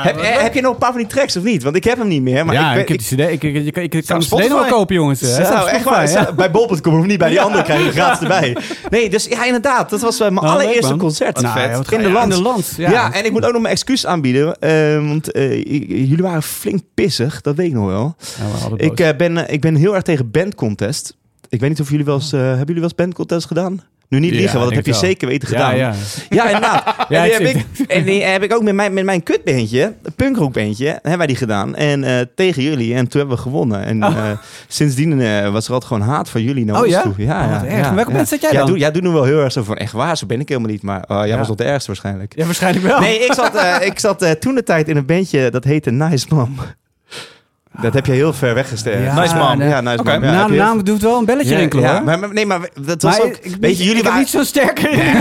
Speaker 4: heb, eh, heb je nog een paar van die tracks of niet? Want ik heb hem niet meer. Maar
Speaker 1: ja,
Speaker 4: ik,
Speaker 1: ik, heb die CD. Ik, ik, ik, ik, ik kan de
Speaker 2: Staat op
Speaker 1: CD nog wel
Speaker 2: Spotify.
Speaker 1: kopen, jongens. Hij staat op
Speaker 4: zou echt
Speaker 1: Spotify,
Speaker 4: waar.
Speaker 1: ja.
Speaker 4: zou- Bij bol.com of niet, bij die andere krijg je gratis erbij. Nee, dus ja, inderdaad. Dat was eh, mijn
Speaker 1: Nou, leuk,
Speaker 4: allereerste
Speaker 1: man.
Speaker 4: concert.
Speaker 1: Nou, ja, wat
Speaker 4: in de
Speaker 1: ga-
Speaker 4: land.
Speaker 1: In de land, ja.
Speaker 4: Ja. en ik moet ook nog mijn excuus aanbieden. eh, want eh, j- jullie waren flink pissig. Dat weet ik nog wel.
Speaker 1: Ja, we hadden
Speaker 4: Ik,
Speaker 1: boos.
Speaker 4: eh, ben, eh, ik ben heel erg tegen bandcontest. Ik weet niet of jullie wel eens... eh, hebben jullie wel eens bandcontest gedaan? Nu niet
Speaker 1: Ja,
Speaker 4: liegen, want
Speaker 1: ik
Speaker 4: dat heb je
Speaker 1: wel.
Speaker 4: zeker weten
Speaker 1: ja,
Speaker 4: gedaan.
Speaker 1: ja.
Speaker 4: Ja, inderdaad.
Speaker 1: Ja,
Speaker 4: en,
Speaker 1: ik
Speaker 4: die heb
Speaker 1: zie
Speaker 4: ik, en die heb ik ook met mijn, met mijn kutbeentje, punkrockbeentje, hebben wij die gedaan. En eh, tegen jullie. En toen hebben we gewonnen. En eh, sindsdien eh, was er altijd gewoon haat van jullie naar
Speaker 1: Oh,
Speaker 4: ons
Speaker 1: ja?
Speaker 4: toe. Ja,
Speaker 1: Oh,
Speaker 4: ja,
Speaker 1: wat erg.
Speaker 4: ja,
Speaker 1: En welke
Speaker 4: ja.
Speaker 1: band zat jij
Speaker 4: Ja,
Speaker 1: dan?
Speaker 4: doe- Jij doet nu wel heel erg zo van, echt waar, zo ben ik helemaal niet. Maar eh, jij
Speaker 1: Ja.
Speaker 4: was nog de ergste waarschijnlijk.
Speaker 1: ja, waarschijnlijk wel.
Speaker 4: Nee, ik zat, eh, ik zat toen de tijd in een bandje dat heette Nice Mom. Dat heb je heel ver weggesteld.
Speaker 1: Ja, Nice Mom.
Speaker 4: Ja, Nice
Speaker 2: Oké.
Speaker 4: Mom. Ja,
Speaker 1: Na
Speaker 4: heb
Speaker 1: de
Speaker 4: je-
Speaker 1: naam doet wel een belletje
Speaker 4: Ja,
Speaker 1: rinkelen,
Speaker 4: ja,
Speaker 1: hoor.
Speaker 4: maar, maar- nee, maar dat was
Speaker 1: Maar
Speaker 4: ook...
Speaker 1: ik-
Speaker 4: weet je,
Speaker 1: ik
Speaker 4: jullie
Speaker 1: heb
Speaker 4: waren...
Speaker 1: niet zo sterk.
Speaker 4: Ik weet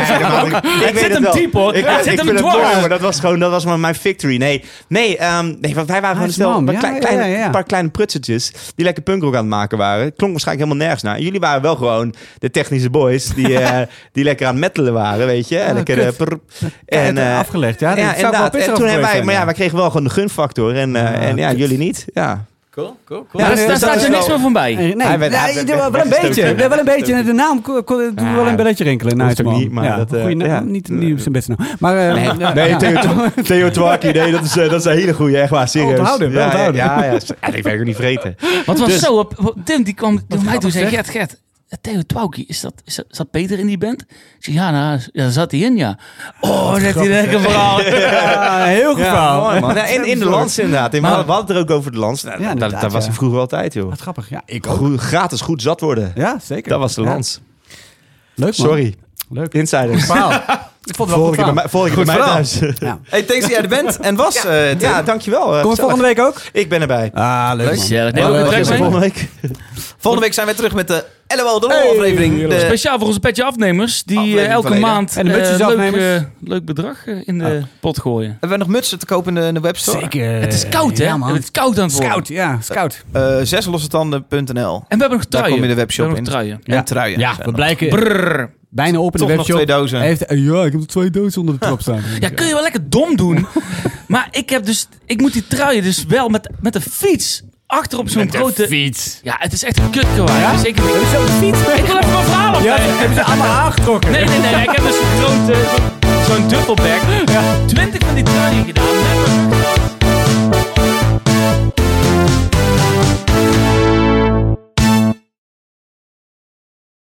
Speaker 3: zit
Speaker 4: het
Speaker 3: hem
Speaker 4: wel.
Speaker 3: diep, hoor.
Speaker 4: Ik,
Speaker 3: Hij
Speaker 4: ik
Speaker 3: zit hem
Speaker 4: vind het
Speaker 3: dwars.
Speaker 4: mooi, maar dat was gewoon dat was maar mijn victory. Nee, nee, ehm, nee want wij waren gewoon
Speaker 1: Nice
Speaker 4: stel,
Speaker 1: man.
Speaker 4: een
Speaker 1: Ja,
Speaker 4: klein-
Speaker 1: ja,
Speaker 4: kleine-
Speaker 1: ja, ja.
Speaker 4: een paar kleine prutsertjes die lekker punkrock aan het maken waren. Klonk waarschijnlijk helemaal nergens naar. Jullie waren wel gewoon de technische boys die, eh, die lekker aan het metalen waren, weet je. lekker,
Speaker 1: Ah, kut.
Speaker 4: eh, prr.
Speaker 1: En,
Speaker 4: eh,
Speaker 1: afgelegd, ja.
Speaker 4: ja,
Speaker 1: dat zou ik wel
Speaker 4: inderdaad.
Speaker 1: pissig
Speaker 4: En
Speaker 1: over
Speaker 4: toen hebben
Speaker 1: geweest
Speaker 4: wij,
Speaker 1: zijn,
Speaker 4: maar ja, wij kregen wel gewoon de gunfactor. En, eh, en ja, jullie niet. Ja.
Speaker 2: Cool, cool, cool.
Speaker 3: ja, daar
Speaker 1: dus
Speaker 3: daar
Speaker 1: dat
Speaker 3: staat
Speaker 1: is
Speaker 3: er niks meer van bij.
Speaker 1: Nee,
Speaker 4: Hij werd-
Speaker 1: ja,
Speaker 4: hij werd-
Speaker 1: wel
Speaker 4: werd
Speaker 1: een beetje.
Speaker 4: gestoken.
Speaker 1: Ja, Wel een beetje. De naam ko- ko- doet
Speaker 4: Ja,
Speaker 1: wel een belletje rinkelen.
Speaker 4: hoeft
Speaker 1: Nice
Speaker 4: ook
Speaker 1: man.
Speaker 4: niet, maar
Speaker 1: Ja,
Speaker 4: dat, eh,
Speaker 1: goeie naam.
Speaker 4: ja.
Speaker 1: Niet niet op zijn beste naam. Maar, eh, ja,
Speaker 4: Nee,
Speaker 1: ja.
Speaker 4: Theo, Twa- Theo Twaki, nee, dat is, eh, dat is een hele goeie, echt waar, serieus.
Speaker 1: Onthouden, wel
Speaker 4: ja, ja,
Speaker 1: onthouden.
Speaker 4: ja, ja, ja, ik ben ook niet vreten.
Speaker 3: Wat was
Speaker 4: Dus-
Speaker 3: zo? op- op- Tim die kwam naar mij toe en zei, Gert, Gert, eh, Theo Twauki, is dat, is dat, zat Peter in die band? Ik zei, ja, nou, ja, daar zat hij in, ja. Oh, dat is een lekker verhaal.
Speaker 1: Ja, Heel goed
Speaker 4: Ja,
Speaker 1: verhaal.
Speaker 4: mooi, man. Ja, in, in de lans inderdaad. In- We
Speaker 3: Maar-
Speaker 4: hadden het er ook over de lans. Nou,
Speaker 1: Ja,
Speaker 4: dat,
Speaker 1: inderdaad,
Speaker 4: dat was
Speaker 1: ja.
Speaker 4: ik vroeger altijd, joh.
Speaker 1: Wat grappig. Ja, ik ook.
Speaker 4: Goed, gratis goed zat worden.
Speaker 1: Ja, zeker.
Speaker 4: Dat was de
Speaker 1: Ja.
Speaker 4: lans.
Speaker 1: Leuk, man.
Speaker 4: Sorry,
Speaker 1: Leuk.
Speaker 4: insiders.
Speaker 1: Verhaal. Ik vond het wel
Speaker 4: Volgende
Speaker 1: goed
Speaker 4: keer bij
Speaker 1: verhaal.
Speaker 4: mij- volgende keer bij mij
Speaker 2: verhaal.
Speaker 4: thuis.
Speaker 1: Ja.
Speaker 2: Hey, thanks dat jij er bent en was. eh, Tim.
Speaker 4: Ja, dankjewel. eh,
Speaker 1: Kom je
Speaker 4: gezellig.
Speaker 1: volgende week ook?
Speaker 4: Ik ben erbij.
Speaker 1: Ah, leuk,
Speaker 2: Leuk.
Speaker 1: man.
Speaker 3: Gezellig. Neem ook
Speaker 1: Leuk.
Speaker 3: een trek
Speaker 4: Tot
Speaker 3: mee.
Speaker 4: volgende week.
Speaker 2: Volgende week zijn we terug met de LOL, de aflevering. De,
Speaker 3: Speciaal voor onze petje afnemers, die eh,
Speaker 2: Aflevering
Speaker 3: elke
Speaker 2: verleden.
Speaker 3: maand
Speaker 1: En de
Speaker 3: eh,
Speaker 1: mutsjes
Speaker 3: leuk,
Speaker 1: afnemers.
Speaker 3: eh, leuk bedrag eh, in de pot gooien.
Speaker 2: hebben we nog mutsen te kopen in de, in de webstore?
Speaker 1: Zeker.
Speaker 3: het is koud, hè?
Speaker 1: Eh, Ja, man.
Speaker 3: het is koud aan het worden.
Speaker 1: Scout, ja, scout.
Speaker 2: Eh, Zeslossetanden.nl.
Speaker 3: En we hebben nog
Speaker 2: Daar
Speaker 3: truien.
Speaker 2: kom je de webshop
Speaker 3: we hebben
Speaker 2: in.
Speaker 3: nog truien.
Speaker 1: Ja.
Speaker 2: En truien.
Speaker 1: Ja,
Speaker 2: zijn
Speaker 1: we
Speaker 2: er.
Speaker 1: blijken
Speaker 3: Brrr.
Speaker 1: bijna op in
Speaker 2: Toch
Speaker 1: de
Speaker 2: nog
Speaker 1: webshop.
Speaker 2: twee dozen.
Speaker 1: Hij heeft, eh, ja, ik heb twee dozen onder de trap staan.
Speaker 3: Ja, kun je wel lekker dom doen. maar ik heb dus... Ik moet die truien dus wel met, met de fiets achter op zo'n grote...
Speaker 1: fiets.
Speaker 3: Ja, het is echt een kutkawaai. Dus ik, ik wil
Speaker 1: Heb je zo'n fiets mee?
Speaker 3: even mijn verhaal
Speaker 1: Ja,
Speaker 3: afleggen.
Speaker 1: ik heb ze allemaal aangetrokken.
Speaker 3: Nee, eh, nee, nee. Ik heb dus zo'n grote... Zo'n dubbelbag. Twintig van die truien gedaan. Met